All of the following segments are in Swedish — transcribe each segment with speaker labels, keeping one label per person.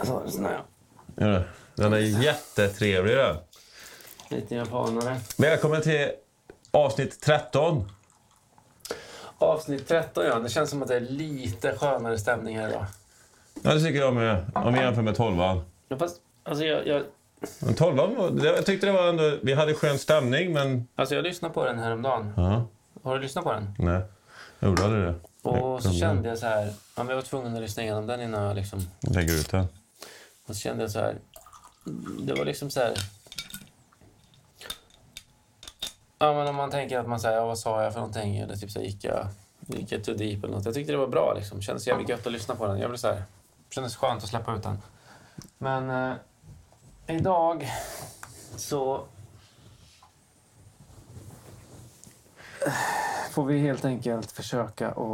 Speaker 1: Alltså,
Speaker 2: Gör det? Den är jättetrevlig den.
Speaker 1: Lite japanare.
Speaker 2: Välkommen till avsnitt 13.
Speaker 1: Avsnitt 13, ja. Det känns som att det är lite skönare stämning här idag.
Speaker 2: Ja, det tycker jag med. Om vi jämför med 12
Speaker 1: Ja, fast, alltså, jag, jag,
Speaker 2: Men 12 jag tyckte det var ändå... Vi hade skön stämning, men...
Speaker 1: alltså, jag lyssnade på den häromdagen.
Speaker 2: Ja,
Speaker 1: Har du lyssnat på den?
Speaker 2: nej. Jag gjorde aldrig det.
Speaker 1: Och så
Speaker 2: Jag
Speaker 1: kände jag så här... Ja, men jag var tvungen att lyssna igenom den innan jag liksom...
Speaker 2: Lägger ut den.
Speaker 1: Och så kände jag så här... Det var liksom så här... Ja, men om man tänker att man säger, ja, vad sa jag för någonting? Eller typ så här, gick jag, gick jag too deep eller något. Jag tyckte det var bra liksom. Kändes jävligt gött att lyssna på den. Jag blev så här, kändes skönt att släppa ut den. Men eh, idag så får vi helt enkelt försöka att eh,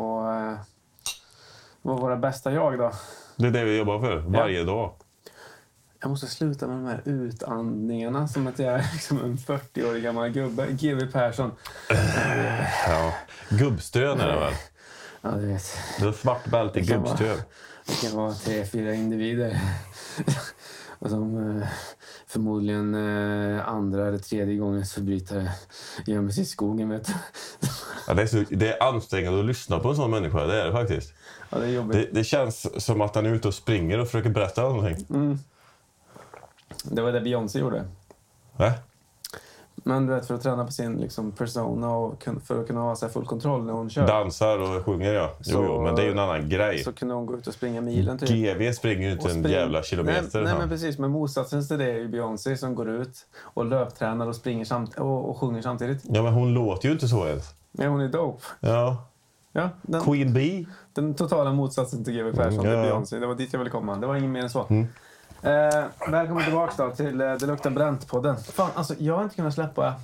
Speaker 1: vara våra bästa jag då.
Speaker 2: Det är det vi jobbar för. Varje dag.
Speaker 1: Jag måste sluta med de här utandningarna som att jag är liksom en 40-årig gammal gubbe. GW Persson.
Speaker 2: Ja. Gubbstön är det väl?
Speaker 1: Ja, du vet.
Speaker 2: Du har svart bälte i
Speaker 1: Det kan vara.
Speaker 2: gubbstön.
Speaker 1: Det kan vara tre, fyra individer. Och som eh, förmodligen eh, andra eller tredje gångens förbrytare gömmer sig i skogen. Vet du.
Speaker 2: Ja, det, är så, det är ansträngande att lyssna på en sån människa. Det är det faktiskt.
Speaker 1: Ja, det är jobbigt.
Speaker 2: Det, det känns som att han är ute och springer och försöker berätta någonting.
Speaker 1: Det, var det Beyoncé gjorde.
Speaker 2: Va?
Speaker 1: Men du vet, för att träna på sin liksom, persona och kun- för att kunna ha så här, full kontroll när hon kör.
Speaker 2: Dansar och sjunger, ja. Jo,
Speaker 1: Så-
Speaker 2: jo, men det är ju en annan grej.
Speaker 1: Så kunde hon gå ut och springa milen typ.
Speaker 2: GV springer ju inte
Speaker 1: Och
Speaker 2: en
Speaker 1: spring-
Speaker 2: jävla kilometer.
Speaker 1: Nej, nej
Speaker 2: han.
Speaker 1: men precis. Men motsatsen till det är ju Beyoncé som går ut och löptränar och springer samt- och, och sjunger samtidigt.
Speaker 2: Ja, men hon låter ju inte så ens.
Speaker 1: Nej, hon är dope.
Speaker 2: Ja.
Speaker 1: Ja, den,
Speaker 2: Queen Bee.
Speaker 1: den totala motsatsen till GW Persson,
Speaker 2: Mm,
Speaker 1: till
Speaker 2: ja, Mm. ja.
Speaker 1: Beyoncé. Det var dit jag ville komma. Det var inget mer än så. Eh, välkommen tillbaka då till eh, Det luktar bränt-podden. Fan, alltså jag har inte kunnat släppa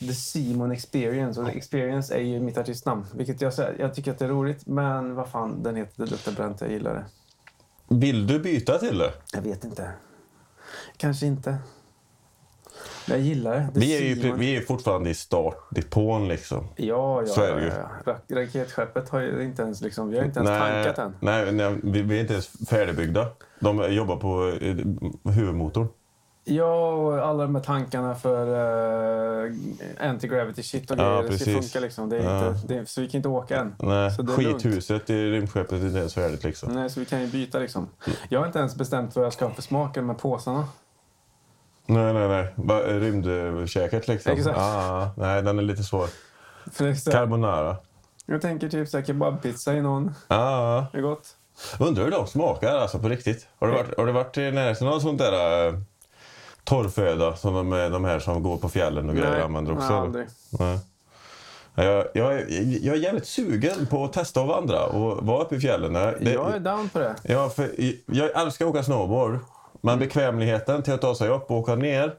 Speaker 1: The Simon Experience. Och The Experience är ju mitt artistnamn. Vilket jag, säger- jag tycker att det är roligt, men vad fan, den heter Det luktar bränt. Jag gillar det.
Speaker 2: Vill du byta till det?
Speaker 1: Jag vet inte. Kanske inte. Men jag gillar det. det
Speaker 2: Vi är ju
Speaker 1: Simon-
Speaker 2: vi är ju fortfarande i startdepån liksom.
Speaker 1: Ja, ja,
Speaker 2: Så är
Speaker 1: ja,
Speaker 2: det ju.
Speaker 1: ja. Ra- Raketskeppet har ju inte ens liksom... Vi har inte ens tankat än.
Speaker 2: nej, nej vi, vi är inte ens färdigbyggda. De jobbar på eh, huvudmotorn.
Speaker 1: Ja, och alla de här tankarna för uh, anti-gravity shit och
Speaker 2: Ja,
Speaker 1: grejer. det ska
Speaker 2: precis.
Speaker 1: funka liksom. Det är
Speaker 2: Ja.
Speaker 1: inte, det är, så vi kan inte åka än.
Speaker 2: Nej,
Speaker 1: så det är lugnt.
Speaker 2: skithuset i rymdskeppet är inte ens färdigt liksom.
Speaker 1: Nej, så vi kan ju byta liksom.
Speaker 2: Mm.
Speaker 1: Jag har inte ens bestämt vad jag ska ha för smak i de här påsarna.
Speaker 2: Nej, nej, nej. Bara Rymdkäket liksom.
Speaker 1: Exakt.
Speaker 2: Ah, nej, den är lite svår.
Speaker 1: För det är så, här-
Speaker 2: Carbonara.
Speaker 1: jag tänker typ så här kebabpizza i någon.
Speaker 2: Ah.
Speaker 1: Det är gott.
Speaker 2: Undrar hur de smakar alltså på riktigt. Har du varit, har du varit i närheten av sånt där eh, torrföda som de, de här som går på fjällen och grejer använder också?
Speaker 1: nej,
Speaker 2: eller?
Speaker 1: aldrig.
Speaker 2: Nej. Jag, jag, är- jag är jävligt sugen på att testa att vandra och vara uppe i fjällen. Det,
Speaker 1: Jag är down på det.
Speaker 2: ja, för, jag älskar att åka snowboard, men
Speaker 1: Mm.
Speaker 2: bekvämligheten till att ta sig upp och åka ner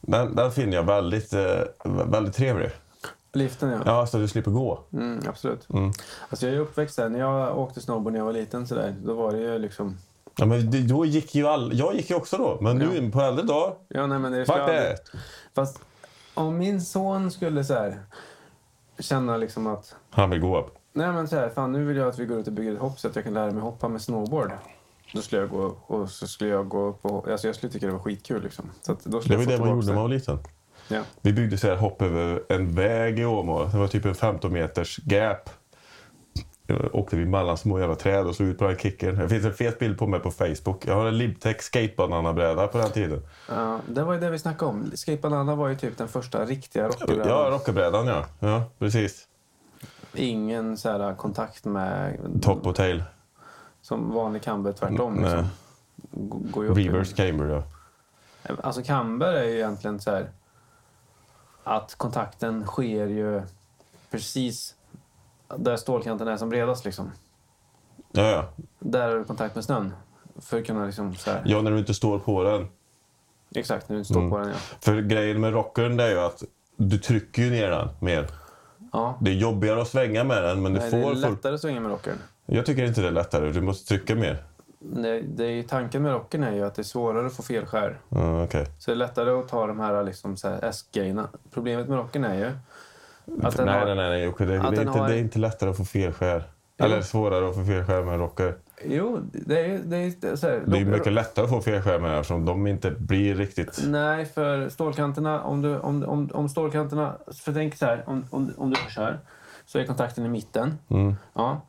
Speaker 2: den, den finner jag väldigt, eh, väldigt trevlig.
Speaker 1: Liften ja.
Speaker 2: Ja, alltså du slipper gå.
Speaker 1: Mm, absolut. Alltså jag är uppväxt där. När jag åkte snowboard när jag var liten så där, då var det ju liksom...
Speaker 2: Ja, men det, då gick ju all, jag gick ju också då, men nu på äldre dag,
Speaker 1: Ja, nej, men det ska
Speaker 2: vart
Speaker 1: jag
Speaker 2: det?
Speaker 1: aldrig- Fast om min son skulle så här, känna liksom att
Speaker 2: Han vill gå upp.
Speaker 1: nej men så här, fan nu vill jag att vi går ut och bygger ett hopp så att jag kan lära mig hoppa med snowboard. Då skulle jag gå och så skulle jag gå upp och alltså jag skulle tycka det var skitkul liksom. Så att då
Speaker 2: Det
Speaker 1: skulle
Speaker 2: var ju
Speaker 1: jag
Speaker 2: det
Speaker 1: få
Speaker 2: man gjorde
Speaker 1: tillbaka
Speaker 2: när man var liten.
Speaker 1: det. Ja.
Speaker 2: Vi byggde så här hopp över en väg i Åmål. Det var typ en 15 meters gap. Jag åkte vi mellan små jävla träd och såg ut på den här kicken. Det finns en fet bild på mig på Facebook. Jag har en Libtech skatebananabräda på den tiden.
Speaker 1: Ja, det var ju det vi snackade om. Skate Banana var ju typ den första riktiga rockbrädan.
Speaker 2: Ja, rockerbrädan ja. Ja, precis.
Speaker 1: Ingen så här kontakt med
Speaker 2: Top och tail.
Speaker 1: som vanlig camber tvärtom
Speaker 2: Nej.
Speaker 1: liksom. G- Går ju upp i-
Speaker 2: Reverse camber ja.
Speaker 1: Alltså camber är ju egentligen så här att kontakten sker ju precis där stålkanten är som bredast liksom.
Speaker 2: Ja, ja.
Speaker 1: Där har du kontakt med snön. För att kunna liksom så här.
Speaker 2: ja, Mm. när du inte står på den.
Speaker 1: Exakt, nu står på den ja.
Speaker 2: För grejen med rockern det är ju att du trycker ju ner den mer.
Speaker 1: ja.
Speaker 2: Det är jobbigare att svänga med den men du
Speaker 1: Nej, det är
Speaker 2: får... full-
Speaker 1: lättare att svänga med rockern.
Speaker 2: Jag tycker inte det är lättare. Du måste trycka mer.
Speaker 1: Det, det är ju, tanken med rockern är ju att det är svårare att få fel skär.
Speaker 2: Ja, Okej.
Speaker 1: Så det är lättare att ta de här, liksom, så här S-grejerna. Problemet med rockern är ju att den
Speaker 2: nej,
Speaker 1: har...
Speaker 2: nej, nej, nej, Jocke. Det, det,
Speaker 1: att
Speaker 2: är
Speaker 1: den
Speaker 2: inte,
Speaker 1: har-
Speaker 2: det är inte lättare att få fel skär.
Speaker 1: Jo.
Speaker 2: Eller svårare att få fel skär med en rocker.
Speaker 1: Jo, det är ju... Det är, det är, så här,
Speaker 2: Det är ju mycket lättare att få flerskärmar eftersom de inte blir riktigt...
Speaker 1: Nej, för stålkanterna, om, du, om, om, om stålkanterna... För tänk så här, om, om, om du kör så är kontakten i mitten. Ja.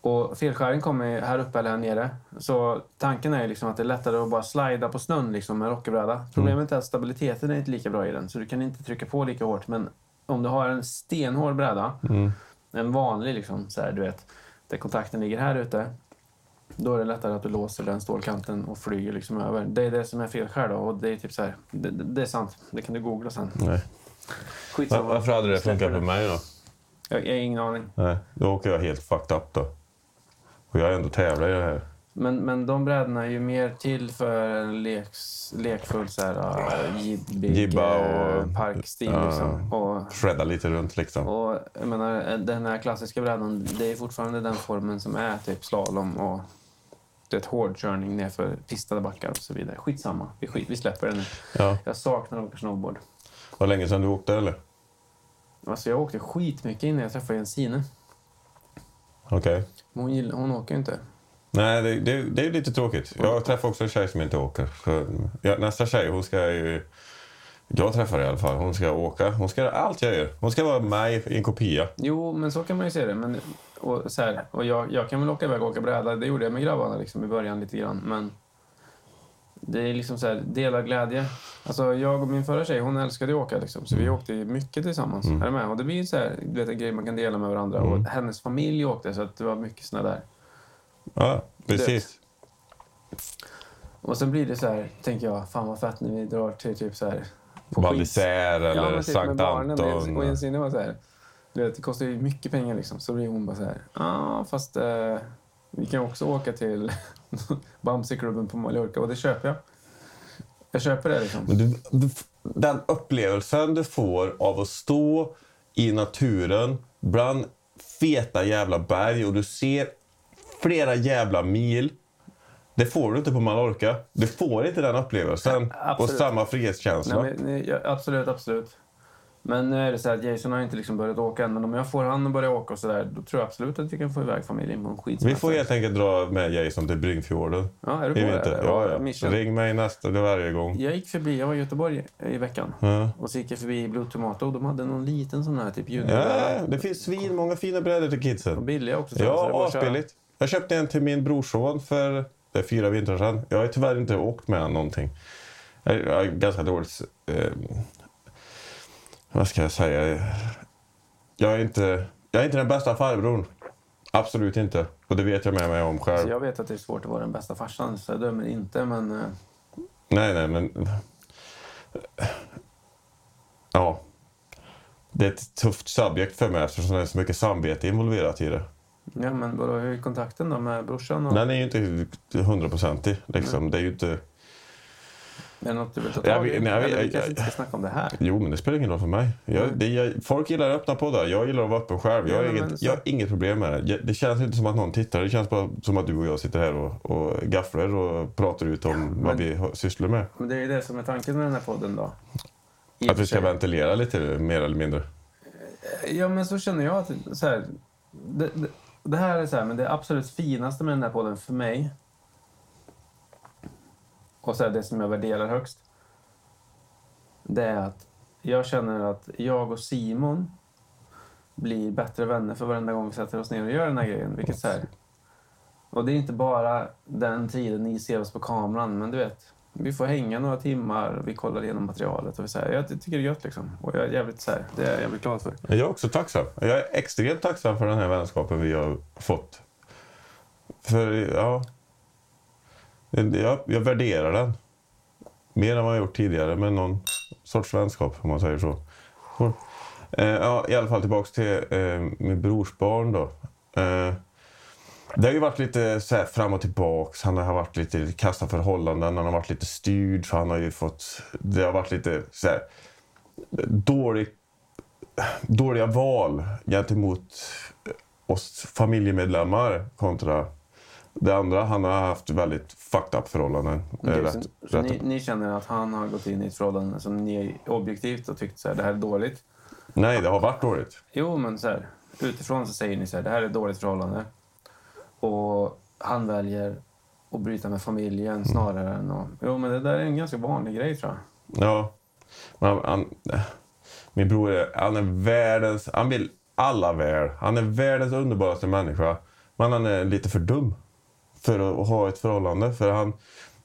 Speaker 1: Och felskärgen kommer ju här uppe eller här nere. Så tanken är ju liksom att det är lättare att bara slida på snön liksom med en rockerbräda. Problemet är att stabiliteten är inte lika bra i den, så du kan inte trycka på lika hårt. Men om du har en stenhård bräda, en vanlig liksom, så här, du vet, där kontakten ligger här ute, då är det lättare att du låser den stålkanten och flyger liksom över. Det är det som är felskär då. Och det är typ så här, det, det det är sant. Det kan du googla sen.
Speaker 2: Nej.
Speaker 1: Skitsamma.
Speaker 3: Varför hade det
Speaker 1: Släpper
Speaker 3: funkat
Speaker 1: det.
Speaker 3: på mig då?
Speaker 1: Jag, jag har ingen aning.
Speaker 2: Nej, då åker jag helt fucked up då. Och jag är ändå tävlar i det här.
Speaker 1: Men, men de brädorna är ju mer till för en leks, lekfull så här, ah, jibbig
Speaker 2: Jibba
Speaker 1: eh,
Speaker 2: och-
Speaker 1: parkstil.
Speaker 2: ja.
Speaker 1: Liksom. Och,
Speaker 2: Shredda lite runt liksom.
Speaker 1: och jag menar, den här klassiska brädan, det är fortfarande den formen som är typ slalom och du vet, hårdkörning nerför pistade backar och så vidare. Skitsamma, vi, skit, vi släpper den nu.
Speaker 2: Ja.
Speaker 1: Jag saknar att åka snowboard.
Speaker 2: Var länge sedan du åkte eller?
Speaker 1: Alltså jag åkte skitmycket innan jag träffade Jensine.
Speaker 2: Okej.
Speaker 1: Men Hon, gillar, hon åker ju inte.
Speaker 2: Nej, det, det, det är ju lite tråkigt. Jag träffar också en tjej som inte åker. Så, ja, nästa tjej, hon ska ju... Jag träffar i alla fall. Hon ska åka. Hon ska göra allt jag gör. Hon ska vara mig i en kopia.
Speaker 1: Jo, men så kan man ju se det. Men, och så här, och jag, jag kan väl åka iväg och åka bräda. Det gjorde jag med grabbarna liksom, i början lite grann. Men det är liksom så här, delad glädje. Alltså, jag och min förra tjej, hon älskade ju att åka. Liksom, så vi åkte ju mycket tillsammans. Är du med? Och det blir ju så här, du vet, en grej man kan dela med varandra. Och hennes familj åkte, så att det var mycket såna där.
Speaker 2: Ja, precis.
Speaker 1: Och sen blir det så här, tänker jag, fan vad fett när vi drar till typ så här... på
Speaker 2: Val
Speaker 1: skits-
Speaker 2: d'Isère
Speaker 1: Ja,
Speaker 2: eller
Speaker 1: men typ med
Speaker 2: Sankt
Speaker 1: barnen. Anton. Och
Speaker 2: Anton.
Speaker 1: Jensine var så här, du vet, det kostar ju mycket pengar liksom. Så blir hon bara så här, ja ah, fast eh, vi kan också åka till Bamseklubben på Mallorca och det köper jag. Jag köper det liksom.
Speaker 2: Men du, du, den upplevelsen du får av att stå i naturen bland feta jävla berg och du ser flera jävla mil. Det får du inte på Mallorca. Du får inte den upplevelsen och
Speaker 1: absolut.
Speaker 2: samma frihetskänsla.
Speaker 1: Nej, men, nej, ja, absolut, absolut. Men nu är det så här att Jason har inte liksom börjat åka än, men om jag får han att börja åka och så där, då tror jag absolut att vi kan få iväg familjen på en skidsemester.
Speaker 2: Vi får helt enkelt dra med Jason till Bryngfjorden.
Speaker 1: Ja, är du på
Speaker 2: I
Speaker 1: det?
Speaker 2: vinter. Ja, ja.
Speaker 1: Mission.
Speaker 2: Ring mig nästa varje gång.
Speaker 1: Jag gick förbi, jag var i Göteborg i veckan.
Speaker 2: Ja.
Speaker 1: Och så gick jag förbi Blue Tomato och de hade någon liten sån här typ junior.
Speaker 2: Ja, det finns svin många fina brädor till
Speaker 1: Och
Speaker 2: kidsen.
Speaker 1: billiga också. så det är bara
Speaker 2: Ja,
Speaker 1: att köra.
Speaker 2: asbilligt. Jag köpte en till min brorson för det är fyra vintrar sedan. Jag har tyvärr inte åkt med honom någonting. Jag jag är ganska dåligt... Eh, vad ska jag säga? Jag är, inte, jag är inte den bästa farbrorn. Absolut inte. Och det vet jag med mig om
Speaker 1: Så
Speaker 2: själv.
Speaker 1: jag vet att det är svårt att vara den bästa farsan, så jag dömer inte. Men eh,
Speaker 2: Nej, nej, men... Ja. Det är ett tufft subjekt för mig eftersom det är så mycket samvete involverat i det.
Speaker 1: ja, men vadå, hur är kontakten då med brorsan? Och...
Speaker 2: Den är ju inte hundraprocentig. Liksom. Det är ju inte...
Speaker 1: Är det något du vill ta
Speaker 2: Jag
Speaker 1: tag i?
Speaker 2: vet- nej, jag vet-
Speaker 1: Eller vi
Speaker 2: jag-
Speaker 1: kanske inte ska snacka om det här.
Speaker 2: Jo, men det spelar ingen roll för mig. Jag, det, jag, folk gillar att öppna poddar. Jag gillar att vara öppen själv. Jag,
Speaker 1: Ja,
Speaker 2: har
Speaker 1: men
Speaker 2: inget,
Speaker 1: så-
Speaker 2: jag har inget problem med det. Jag, det känns inte som att någon tittar. Det känns bara som att du och jag sitter här och, och gafflar och pratar ut om vad vi har- sysslar med.
Speaker 1: Men det är ju det som är tanken med den här podden då. I och
Speaker 2: Att vi
Speaker 1: för
Speaker 2: ska
Speaker 1: sig.
Speaker 2: ventilera lite mer eller mindre.
Speaker 1: Ja, men så känner jag att så här, det, det, det här är så här, men det absolut finaste med den här podden för mig och så här, det som jag värderar högst det är att jag känner att jag och Simon blir bättre vänner för varenda gång vi sätter oss ner och gör den här grejen. Vilket så här, och det är inte bara den tiden ni ser oss på kameran, men du vet, vi får hänga några timmar, vi kollar igenom materialet och vi säger, jag tycker det är gött liksom. Och jag är jävligt så här, det är jag jävligt glad för.
Speaker 2: Jag är också tacksam. Jag är extremt tacksam för den här vänskapen vi har fått. För, ja... Jag, jag värderar den. Mer än vad jag gjort tidigare med någon sorts vänskap, om man säger så. så. Eh, ja, I alla fall tillbaks till eh, min brors barn då. Eh, det har ju varit lite så här fram och tillbaks. Han har varit lite i kassa förhållanden. Han har varit lite styrd. Så han har ju fått... Det har varit lite så här, dåligt dåliga val gentemot oss familjemedlemmar kontra det andra. Han har haft väldigt fucked up förhållanden. Eh,
Speaker 1: Okej,
Speaker 2: rätt-
Speaker 1: så så
Speaker 2: rätt
Speaker 1: ni,
Speaker 2: upp.
Speaker 1: ni känner att han har gått in i ett förhållande som ni objektivt har tyckt så här, det här är dåligt.
Speaker 2: Nej, det har varit dåligt.
Speaker 1: Jo, men så här, utifrån så säger ni så här, det här är ett dåligt förhållande. Och han väljer att bryta med
Speaker 2: Mm.
Speaker 1: familjen snarare än att... Jo, men det där är en ganska vanlig grej tror jag.
Speaker 2: Ja. Men han, han, min bror är, han är världens... Han vill alla väl. Han är världens underbaraste människa. Men han är lite för dum för att ha ett förhållande. För han,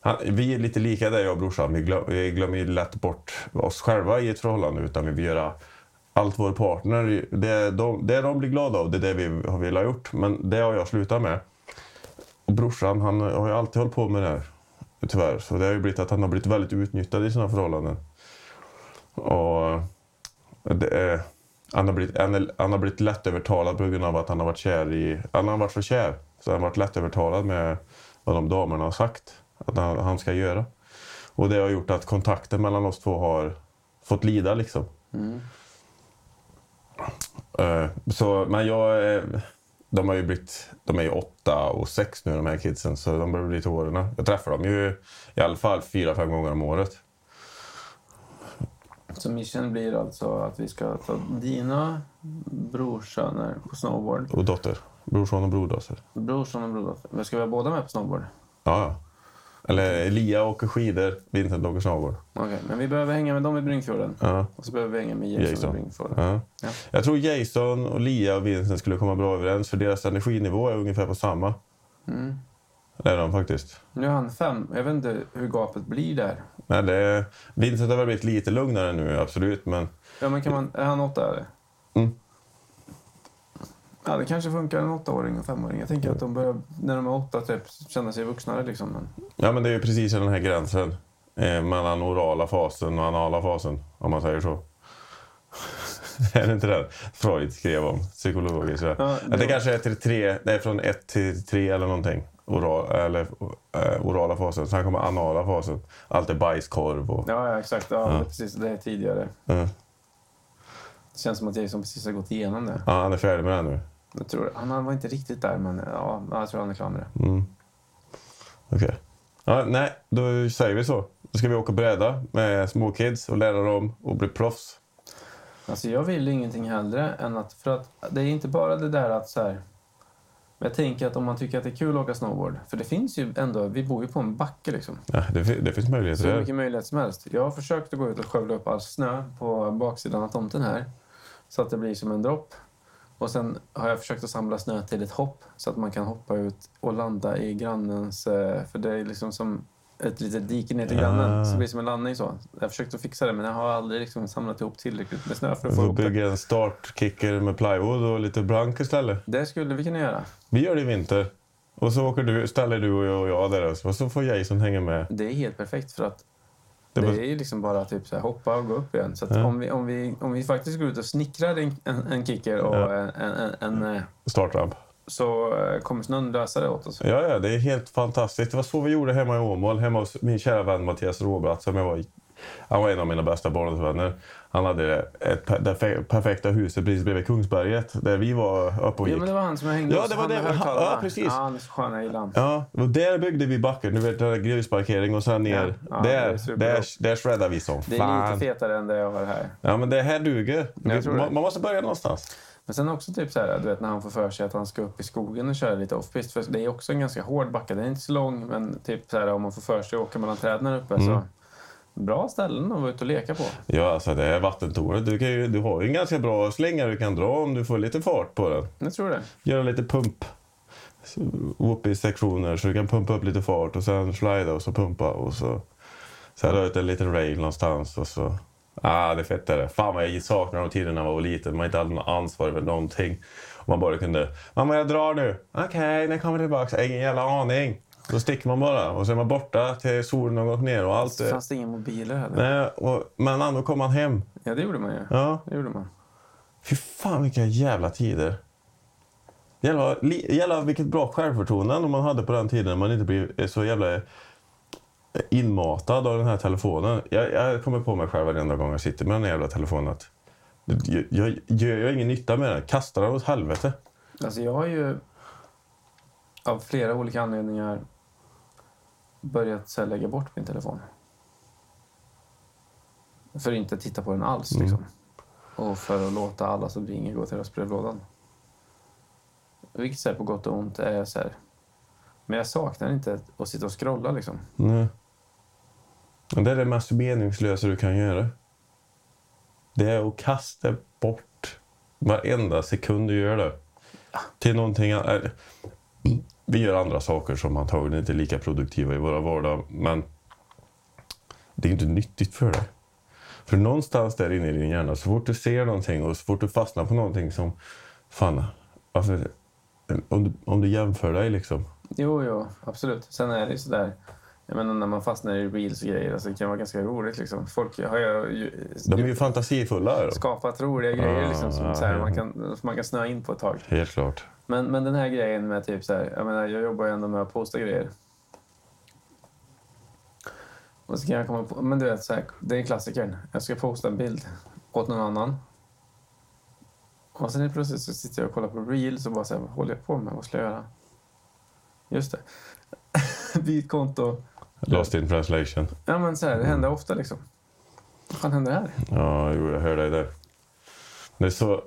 Speaker 2: han, vi är lite lika där, jag och brorsan. Vi, glöm, vi glömmer ju lätt bort oss själva i ett förhållande. Utan vi vill göra allt vår partner... Det de, det de blir glada av, det är det vi har velat gjort. Men det har jag slutat med. Och brorsan, han har ju alltid hållit på med det här. Tyvärr. Så det har ju blivit att han har blivit väldigt utnyttjad i sina förhållanden. Och eh, det är, han, har blivit, han, är, han har blivit lättövertalad på grund av att han har varit kär i... Han har varit så kär. Så han har varit lättövertalad med vad de damerna har sagt att han, han ska göra. Och det har gjort att kontakten mellan oss två har fått lida liksom. Eh, Så, men jag... eh, De har ju blivit... De är ju åtta och sex nu de här kidsen, så de börjar bli till åren. Jag träffar dem ju i alla fall fyra, fem gånger om året.
Speaker 1: Så mission blir alltså att vi ska ta dina brorsöner på snowboard.
Speaker 2: Och dotter. Brorson och brordotter.
Speaker 1: Brorson och brodotter. Men Ska vi ha båda med på snowboard?
Speaker 2: Ja, ja. Eller Elia åker skidor, Vincent åker snowboard.
Speaker 1: Okej, men vi behöver hänga med dem i Bryngfjorden.
Speaker 2: Ja.
Speaker 1: Och så behöver vi hänga med Jason,
Speaker 2: Jason.
Speaker 1: i Bryngfjorden.
Speaker 2: Ja.
Speaker 1: Ja.
Speaker 2: Jag tror Jason, och Lia och Vincent skulle komma bra överens för deras energinivå är ungefär på samma.
Speaker 1: Mm.
Speaker 2: Det är de faktiskt.
Speaker 1: Nu är han fem. Jag vet inte hur gapet blir där.
Speaker 2: Nej, det är... Vincent har väl blivit lite lugnare nu, absolut. Men
Speaker 1: Ja, men kan man... Är han åtta? Eller?
Speaker 2: Mm.
Speaker 1: Ja, det kanske funkar en åttaåring och femåring. Jag tänker att de börjar, när de är åtta, typ, känna sig vuxnare. Liksom. Men,
Speaker 2: Ja, men det är ju precis den här gränsen eh, mellan orala fasen och anala fasen, om man säger så. är det inte det Freud skrev om psykologiskt? Ja,
Speaker 1: Ja,
Speaker 2: det, det
Speaker 1: det var-
Speaker 2: kanske är till tre, nej, från ett till tre eller någonting. Oral, eller, eh, orala fasen. Sen kommer anala fasen. Allt är bajskorv och...
Speaker 1: ja, ja, exakt. Ja,
Speaker 2: Ja.
Speaker 1: Det, är precis, det är tidigare.
Speaker 2: Mm.
Speaker 1: Det känns som att Jason precis har gått igenom det.
Speaker 2: Ja, han är färdig med det nu.
Speaker 1: Jag tror, han han var inte riktigt där, men ja, jag tror han är klar med det.
Speaker 2: Mm. Okej. Ja, nej, då säger vi så. Då ska vi åka och bräda med småkids och lära dem att bli proffs.
Speaker 1: Alltså jag vill ju ingenting hellre än att, för att det är inte bara det där att så här, men jag tänker att om man tycker att det är kul att åka snowboard, för det finns ju ändå, vi bor ju på en backe liksom.
Speaker 2: Ja, det, fi- det finns möjligheter.
Speaker 1: Så
Speaker 2: där.
Speaker 1: mycket möjlighet som helst. Jag har försökt att gå ut och skövla upp all snö på baksidan av tomten här, så att det blir som en dropp. Och sen har jag försökt att samla snö till ett hopp, så att man kan hoppa ut och landa i grannens, eh, för det är liksom som ett litet dike ner till grannen,
Speaker 2: Ah.
Speaker 1: så det blir som en landning så. Jag har försökt att fixa det, men jag har aldrig liksom samlat ihop tillräckligt med snö för
Speaker 2: Vi
Speaker 1: att få
Speaker 2: får
Speaker 1: ihop det.
Speaker 2: Alltså, bygga en startkicker med plywood och lite blank istället.
Speaker 1: Det skulle vi kunna göra.
Speaker 2: Vi gör det i vinter. Och så åker du, ställer du och jag, och jag där och så får Jason hänga med.
Speaker 1: Det är helt perfekt för att
Speaker 2: Det
Speaker 1: det,
Speaker 2: var-
Speaker 1: är ju liksom bara typ så här, hoppa och gå upp igen. Så att
Speaker 2: Ja.
Speaker 1: om, vi, om, vi, om vi faktiskt går ut och snickrar en, en, en kicker och
Speaker 2: Ja.
Speaker 1: en, en, en, en, eh,
Speaker 2: Startramp.
Speaker 1: så eh, kommer snön lösa det åt oss.
Speaker 2: Ja, ja, det är helt fantastiskt. Det var så vi gjorde hemma i Åmål, hemma hos min kära vän Mattias Råbratt som jag var i. Han var en av mina bästa barndomsvänner. Han hade ett, per- det fe- perfekta huset precis bredvid Kungsberget där vi var uppe och
Speaker 1: Ja,
Speaker 2: gick.
Speaker 1: men det var han som jag hängde
Speaker 2: Ja,
Speaker 1: hos.
Speaker 2: det var
Speaker 1: Han
Speaker 2: det.
Speaker 1: med
Speaker 2: Ja,
Speaker 1: högtalarna.
Speaker 2: ja, precis.
Speaker 1: Ja, han är så skön, jag gillar honom.
Speaker 2: Ja, och där byggde vi backen. Du vet, där är grusparkering och sen ner.
Speaker 1: Ja, ja, det är
Speaker 2: där,
Speaker 1: superbra.
Speaker 2: där, där shreddade vi som
Speaker 1: Det är lite fetare än det jag har här.
Speaker 2: Ja, men det här duger.
Speaker 1: Jag tror det.
Speaker 2: man, man måste börja någonstans.
Speaker 1: Men sen också typ så här, du vet när han får för sig att han ska upp i skogen och köra lite offpist. För det är också en ganska hård backe. Den är inte så lång, men typ så här om man får för sig att åka mellan träden här uppe
Speaker 2: Mm.
Speaker 1: så bra ställen att vara ute och leka på.
Speaker 2: Ja, alltså det här vattentornet. Du, kan ju, du har ju en ganska bra slänga du kan dra om du får lite fart på den.
Speaker 1: Jag tror det.
Speaker 2: Göra lite pump. Upp i sektioner så du kan pumpa upp lite fart och sen slida och så pumpa och så... Sen har du ut en liten rail någonstans och så... Ah, det är fett är det. Fan vad jag saknar de tiden när man var liten. Man inte hade något ansvar över någonting. Man bara kunde... Mamma, jag drar nu. Okej, när jag kommer tillbaka? Ingen jävla aning. Då sticker man bara och så är man borta till solen har gått ner och allt.
Speaker 1: Det
Speaker 2: är-
Speaker 1: fanns det inga mobiler heller.
Speaker 2: Nej, och, men ändå kom han hem.
Speaker 1: Ja, det gjorde man ju.
Speaker 2: Ja.
Speaker 1: Det gjorde man.
Speaker 2: Fy fan vilka jävla tider. Jävla, li, jävla vilket bra självförtroende ändå man hade på den tiden när man inte blev eh, så jävla inmatad av den här telefonen. Jag, jag kommer på mig själv varenda gång jag sitter med den här jävla telefonen att jag, jag gör jag ingen nytta med den. Kastar den åt helvete.
Speaker 1: Alltså jag har ju av flera olika anledningar börjat så här, lägga bort min telefon. För att inte titta på den alls liksom. Och för att låta alla som ringer gå till röstbrevlådan. Vilket så här, på gott och ont är så här. Men jag saknar inte att sitta och scrolla liksom.
Speaker 2: Nej. Men Det är det mest meningslösa du kan göra. Det är att kasta bort varenda sekund du gör det. Till någonting annat. Vi gör andra saker som antagligen inte är lika produktiva i våra vardag. Men det är inte nyttigt för dig. För någonstans där inne i din hjärna, så fort du ser någonting och så fort du fastnar på någonting som... Fan, alltså, om, du, om du jämför dig liksom.
Speaker 1: Jo, jo, absolut. Sen är det ju sådär. Jag menar när man fastnar i reels och grejer, alltså, det kan vara ganska roligt liksom. Folk har ju ju-
Speaker 2: De är ju fantasifulla. då.
Speaker 1: skapat roliga grejer liksom, som
Speaker 2: ja,
Speaker 1: så här,
Speaker 2: ja.
Speaker 1: man, kan, som man kan snöa in på ett tag.
Speaker 2: Helt klart.
Speaker 1: Men, men den här grejen med typ så här, jag menar jag jobbar ju ändå med att posta grejer. Och så kan jag komma på, men du vet så här, det är klassikern. Jag ska posta en bild åt någon annan. Och sen helt plötsligt så sitter jag och kollar på reels och bara så här, vad håller jag på med? Vad ska jag göra? Just det. Byt konto.
Speaker 2: Lost in translation.
Speaker 1: Ja men så här, det händer ofta liksom. Vad fan händer här?
Speaker 2: Ja, jo, jag hör dig där. Det är så...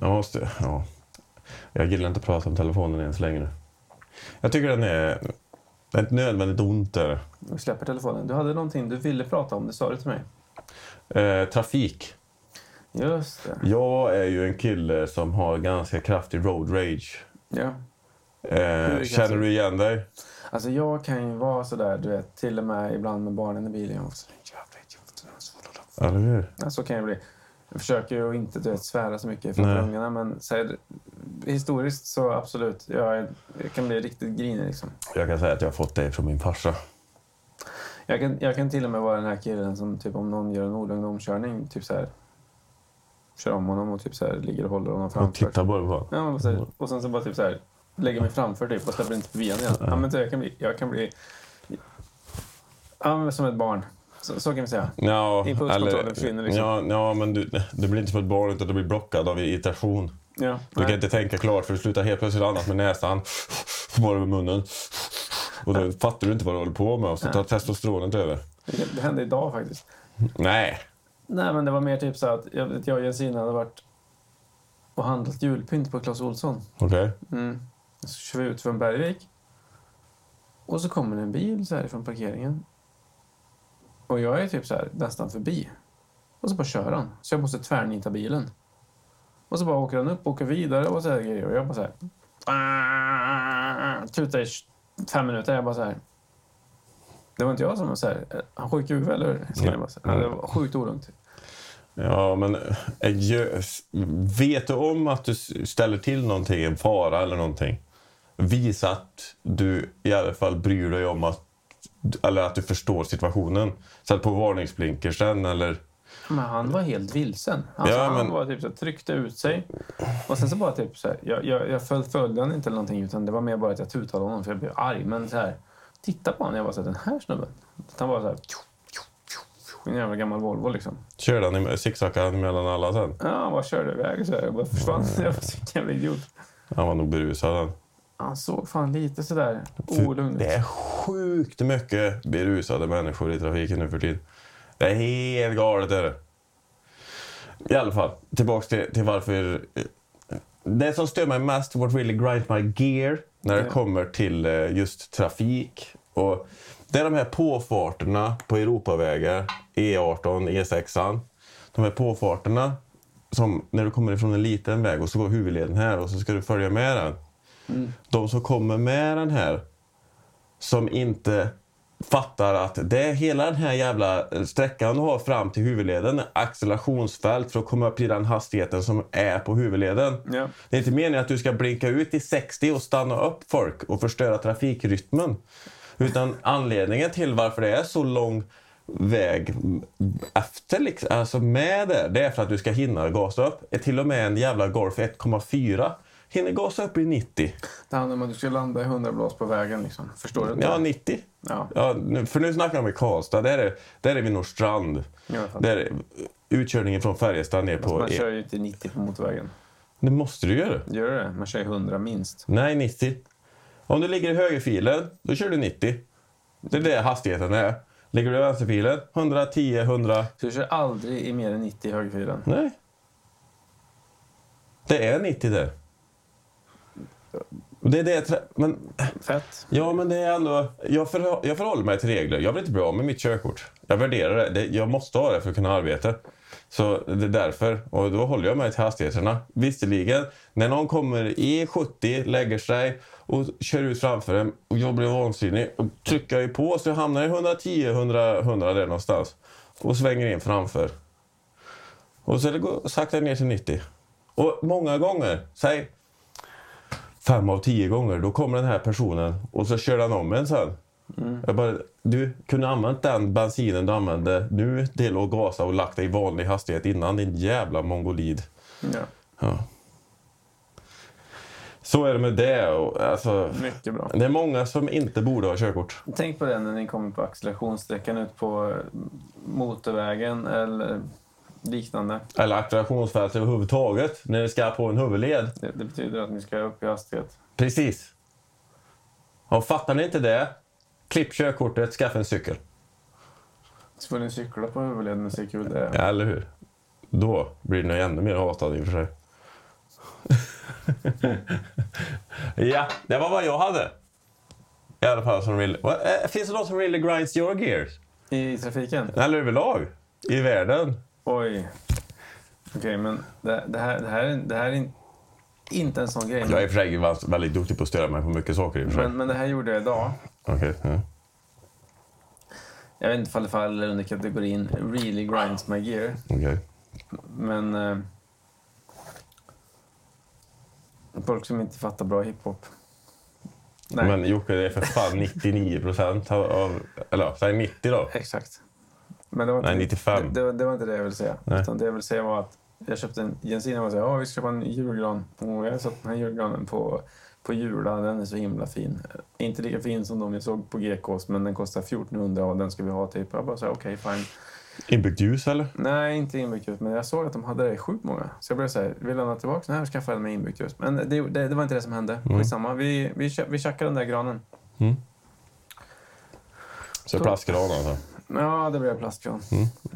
Speaker 2: Jag måste... Ja. Jag gillar inte att prata om telefonen ens längre. Jag tycker den är... Det är inte nödvändigt ont där.
Speaker 1: Vi släpper telefonen. Du hade någonting du ville prata om, det sa du till mig.
Speaker 2: Eh, trafik.
Speaker 1: Just det.
Speaker 2: Jag är ju en kille som har ganska kraftig road rage.
Speaker 1: Ja.
Speaker 2: Eh, känner du igen dig?
Speaker 1: Alltså jag kan ju vara sådär, du vet, till och med ibland med barnen i bilen. Och så, jag vet ju inte vad jag ska göra."
Speaker 2: Eller hur?
Speaker 1: Ja, så kan jag bli. Jag försöker ju inte du vet, svära så mycket för
Speaker 2: Nej.
Speaker 1: ungarna, men så här, historiskt så absolut. Jag, är, jag kan bli riktigt grinig liksom.
Speaker 2: Jag kan säga att jag har fått det från min farsa.
Speaker 1: Jag kan, jag kan till och med vara den här killen som typ om någon gör en olugn omkörning, typ så här kör om honom och typ så här ligger och håller honom
Speaker 2: Och
Speaker 1: framför.
Speaker 2: titta bara på honom.
Speaker 1: Ja, men precis. Och sen så bara typ så här, lägger mig framför typ och släpper inte förbi honom igen. Ja, men så jag kan bli... Jag kan bli ja, men som ett barn. Så, så kan vi säga.
Speaker 2: Ja,
Speaker 1: Impulskontrollen försvinner liksom.
Speaker 2: ja, ja, men du, du blir inte som ett barn utan du blir blockad av irritation.
Speaker 1: Ja,
Speaker 2: Du kan
Speaker 1: nej.
Speaker 2: inte tänka klart för du slutar helt plötsligt andas med näsan, bara över munnen. Och då fattar du inte vad du håller på med och så tar testosteronet över.
Speaker 1: Det- Det hände idag faktiskt.
Speaker 2: Nej,
Speaker 1: Nej, men det var mer typ så att jag, att jag och Jensina hade varit och handlat julpynt på Clas Ohlson.
Speaker 2: okej.
Speaker 1: Mm. Så kör vi ut från Bergvik. Och så kommer det en bil så här från parkeringen. Och jag är typ så här nästan förbi. Och så bara kör han. Så jag måste tvärnita bilen. Och så bara åker han upp, åker vidare och så här grejer. Och jag bara så här... "Ah!" Tutar i fem minuter. Jag bara så här... Det var inte jag som var så här... eh, Han sjuk i huvudet eller hur? Så jag bara så här, "Ja, Det var sjukt olugnt.
Speaker 2: Ja, men eh, gö- vet du om att du s- ställer till någonting, en fara eller någonting? Visa att du i alla fall bryr dig om att, eller att du förstår situationen. Sätt på varningsblinkersen eller...
Speaker 1: Men han var helt vilsen. Alltså,
Speaker 2: Ja,
Speaker 1: Han
Speaker 2: men-
Speaker 1: var typ så här, tryckte ut sig. Och sen så bara typ så här, jag, jag, jag föl, följde honom inte eller någonting utan det var mer bara att jag tutade honom för jag blev arg. Men så här, titta på honom. Jag var så här, den här snubben. Han var så här, tjo, tjo, tjo, tjo, en jävla gammal Volvo liksom.
Speaker 2: Kör den, i- zigzacka den mellan alla sen.
Speaker 1: Ja, han bara körde iväg så här. Jag bara försvann. Jag var så jävla idiot.
Speaker 2: Han var nog berusad han.
Speaker 1: Han såg fan lite sådär
Speaker 2: För
Speaker 1: olugn ut.
Speaker 2: Det är sjukt mycket berusade människor i trafiken nu för tiden. Det är helt galet. Är det. I alla fall, tillbaks till, till varför... eh, Det som stör mig mest, what really grinds my gear, när det
Speaker 1: Ja.
Speaker 2: kommer till eh, just trafik. Och det är de här påfarterna på Europavägar, E E18, E6. De här påfarterna, som när du kommer ifrån en liten väg och så går huvudleden här och så ska du följa med den. De som kommer med den här som inte fattar att det är hela den här jävla eh, sträckan du har fram till huvudleden accelerationsfält för att komma upp i den hastigheten som är på huvudleden.
Speaker 1: Ja.
Speaker 2: Det är inte meningen att du ska blinka ut i 60 och stanna upp folk och förstöra trafikrytmen. Utan anledningen till varför det är så lång väg efter, liksom, alltså med det, det är för att du ska hinna gasa upp. Till och med en jävla Golf 1,4 hinner gasa upp i 90.
Speaker 1: Det handlar om att du ska landa i 100 blås på vägen liksom. Förstår du? inte?
Speaker 2: Ja, 90.
Speaker 1: Ja.
Speaker 2: Ja, nu- för nu snackar vi om i Karlstad. Där är, där är vi Nordstrand.
Speaker 1: Ja, jag fattar.
Speaker 2: Där är utkörningen från Färjestad ner på...
Speaker 1: Man
Speaker 2: E-
Speaker 1: kör ju inte 90 på motorvägen.
Speaker 2: Det måste du göra.
Speaker 1: Gör du det? Man kör ju 100 minst.
Speaker 2: Nej, 90. Om du ligger i högerfilen, då kör du 90. Det är det hastigheten är. Ligger du i vänsterfilen, 110, 100...
Speaker 1: Så du kör aldrig i mer än 90 i högerfilen?
Speaker 2: Nej. Det är 90 där. Och Det är det jag trä- men,
Speaker 1: Fett.
Speaker 2: ja, men det är ändå... Jag, förhå- jag förhåller mig till regler. Jag blir inte bra med mitt körkort. Jag värderar det. det. Jag måste ha det för att kunna arbeta. Så det är därför. Och då håller jag mig till hastigheterna. Visserligen, när någon kommer i 70, lägger sig och kör ut framför en och jag blir vansinnig och trycker jag ju på så jag hamnar i 110, 100, 100 där någonstans. Och svänger in framför. Och så det går sakta ner till 90. Och många gånger, säg fem av tio gånger, då kommer den här personen och så kör den om en sen. Jag bara, du kunde använt den bensinen du använde nu till att gasa och lagt dig i vanlig hastighet innan din jävla mongolid.
Speaker 1: Ja.
Speaker 2: Ja. Så är det med det. Och, alltså,
Speaker 1: Mycket bra.
Speaker 2: det är många som inte borde ha körkort.
Speaker 1: Tänk på det när ni kommer på accelerationssträckan ut på eh, motorvägen eller liknande.
Speaker 2: Eller accelerationsfält överhuvudtaget när det ska på en huvudled.
Speaker 1: Det, det betyder att ni ska upp i hastighet.
Speaker 2: Precis. Ja, fattar ni inte det? Klipp körkortet, skaffa en cykel.
Speaker 1: Så får ni cykla på huvudleden och se hur kul det är.
Speaker 2: Ja, eller hur? Då blir den ju ännu mer hatad i och för sig. ja, det var vad jag hade. I alla fall som really... Vad- eh, Finns det någon som really grinds your gears?
Speaker 1: I trafiken?
Speaker 2: Eller överlag? I världen?
Speaker 1: Oj. Okej, men det, det, här, det, här, är- det här är in- inte en sån grej.
Speaker 2: Jag är i och för sig vans- väldigt duktig på att störa mig på mycket saker i och för sig.
Speaker 1: Men, men det här gjorde jag idag.
Speaker 2: Okej, ja.
Speaker 1: Jag vet inte ifall det faller under kategorin really grinds my gear.
Speaker 2: Okej.
Speaker 1: Men... Eh, folk som inte fattar bra hiphop. Nej,
Speaker 2: Men Jocke, det är för fan 99 procent av... av- Eller säg 90 då.
Speaker 1: exakt. Men det var inte,
Speaker 2: Nej, 95.
Speaker 1: Det, det, var- det var inte det jag ville säga.
Speaker 2: Nej.
Speaker 1: Utan det jag ville säga var att jag köpte en Jensina och sa att vi ska ha en julgran. Och jag har satt den här julgranen på, på Jula. Den är så himla fin. Inte lika fin som de jag såg på GKs, men den kostar 1400 och den ska vi ha typ. Jag bara sa okej, fine.
Speaker 2: Inbyggt ljus eller?
Speaker 1: Nej, inte inbyggt ljus. Men jag såg att de hade det i sjukt många. Så jag blev så här, vill han ha tillbaka den här så skaffar jag den med inbyggt ljus. Men det, det, det var inte det som hände.
Speaker 2: Mm.
Speaker 1: Skitsamma. Vi, vi, kö- vi tjackade den där granen.
Speaker 2: Så plastgran alltså.
Speaker 1: Ja, det blev plastgran.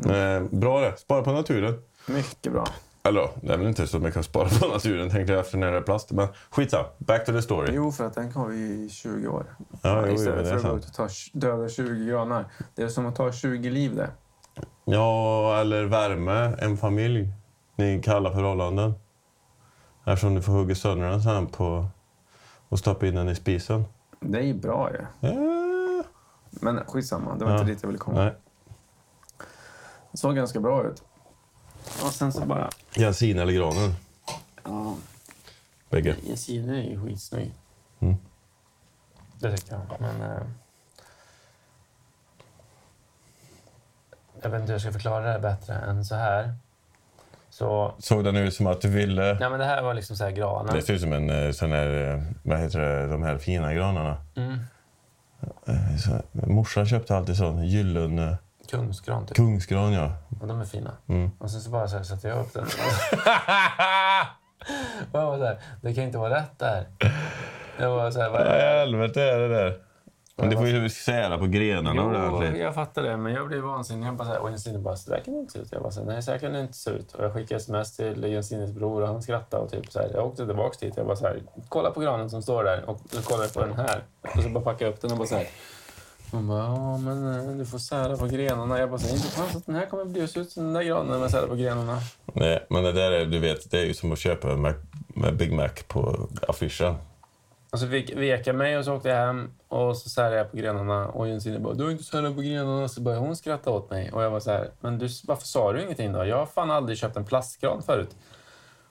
Speaker 2: Eh, bra det. Spara på naturen.
Speaker 1: Mycket bra.
Speaker 2: Eller ja, det är väl inte så mycket att spara på naturen tänkte jag efter när det är plast. Men skitsamma, back to the story.
Speaker 1: Jo, för att den har vi i 20 år.
Speaker 2: Ja, jo, jo,
Speaker 1: Istället
Speaker 2: det
Speaker 1: för
Speaker 2: är
Speaker 1: att gå ut
Speaker 2: sant.
Speaker 1: och ta, döda 20 granar. Det är som att ta 20 liv det.
Speaker 2: Ja, eller värme, en familj. Ni kallar förhållanden. Eftersom du får hugga sönder den sen på och stoppa in den i spisen.
Speaker 1: Det är ju bra ju.
Speaker 2: Eh,
Speaker 1: Men skitsamma, det var
Speaker 2: Ja.
Speaker 1: inte dit jag ville komma.
Speaker 2: nej.
Speaker 1: Det såg ganska bra ut. Och sen så bara...
Speaker 2: Jensin eller granen?
Speaker 1: Ja,
Speaker 2: Bägge.
Speaker 1: Jensina är ju skitsnygg.
Speaker 2: Mm.
Speaker 1: Det tycker jag. Men, eh,
Speaker 3: Jag vet inte hur jag ska förklara det bättre än så här. Så,
Speaker 2: Såg den ut som att du ville...
Speaker 3: nej men det här var liksom så här granen.
Speaker 2: Det ser ut som en eh, sån här, eh, vad heter det, de här fina granarna.
Speaker 3: Mm.
Speaker 2: Eh, Så, morsan köpte alltid sån gyllene
Speaker 3: Kungsgran typ.
Speaker 2: kungsgran ja.
Speaker 3: Och de är fina.
Speaker 2: Mm.
Speaker 3: Och sen så bara så här sätter jag upp den. och jag var så här, det kan inte vara rätt där. Jag var så här, vad är det?
Speaker 2: Helvete är det där. Men du får ju sära på grenarna
Speaker 3: Jo,
Speaker 2: ordentligt.
Speaker 3: jag fattar det, men jag blev vansinnig. Jag bara så här, och Jensine bara, så där kan det inte se ut. Jag bara, så här, nej, så här kan det inte se ut. Och jag skickade sms till Jensines bror och han skrattade. Och typ, så här, jag åkte tillbaka dit jag bara så här, kolla på granen som står där och nu kollar jag på den här. Och så bara packade jag upp den och bara så här. Hon bara, ja men eh, du får sära på grenarna. Jag bara, så här, inte chans att den här kommer bli se ut som den där granen med sära på grenarna.
Speaker 2: Nej, men det där är, du vet, det är ju som att köpa en Mac, med Big Mac på affischen.
Speaker 3: Och så fick vek jag mig och så åkte jag hem och så särade jag på grenarna och Jensine bara “du har inte särat på grenarna” så började hon skratta åt mig och jag var så här “men du, varför sa du ingenting då? Jag har fan aldrig köpt en plastgran förut”.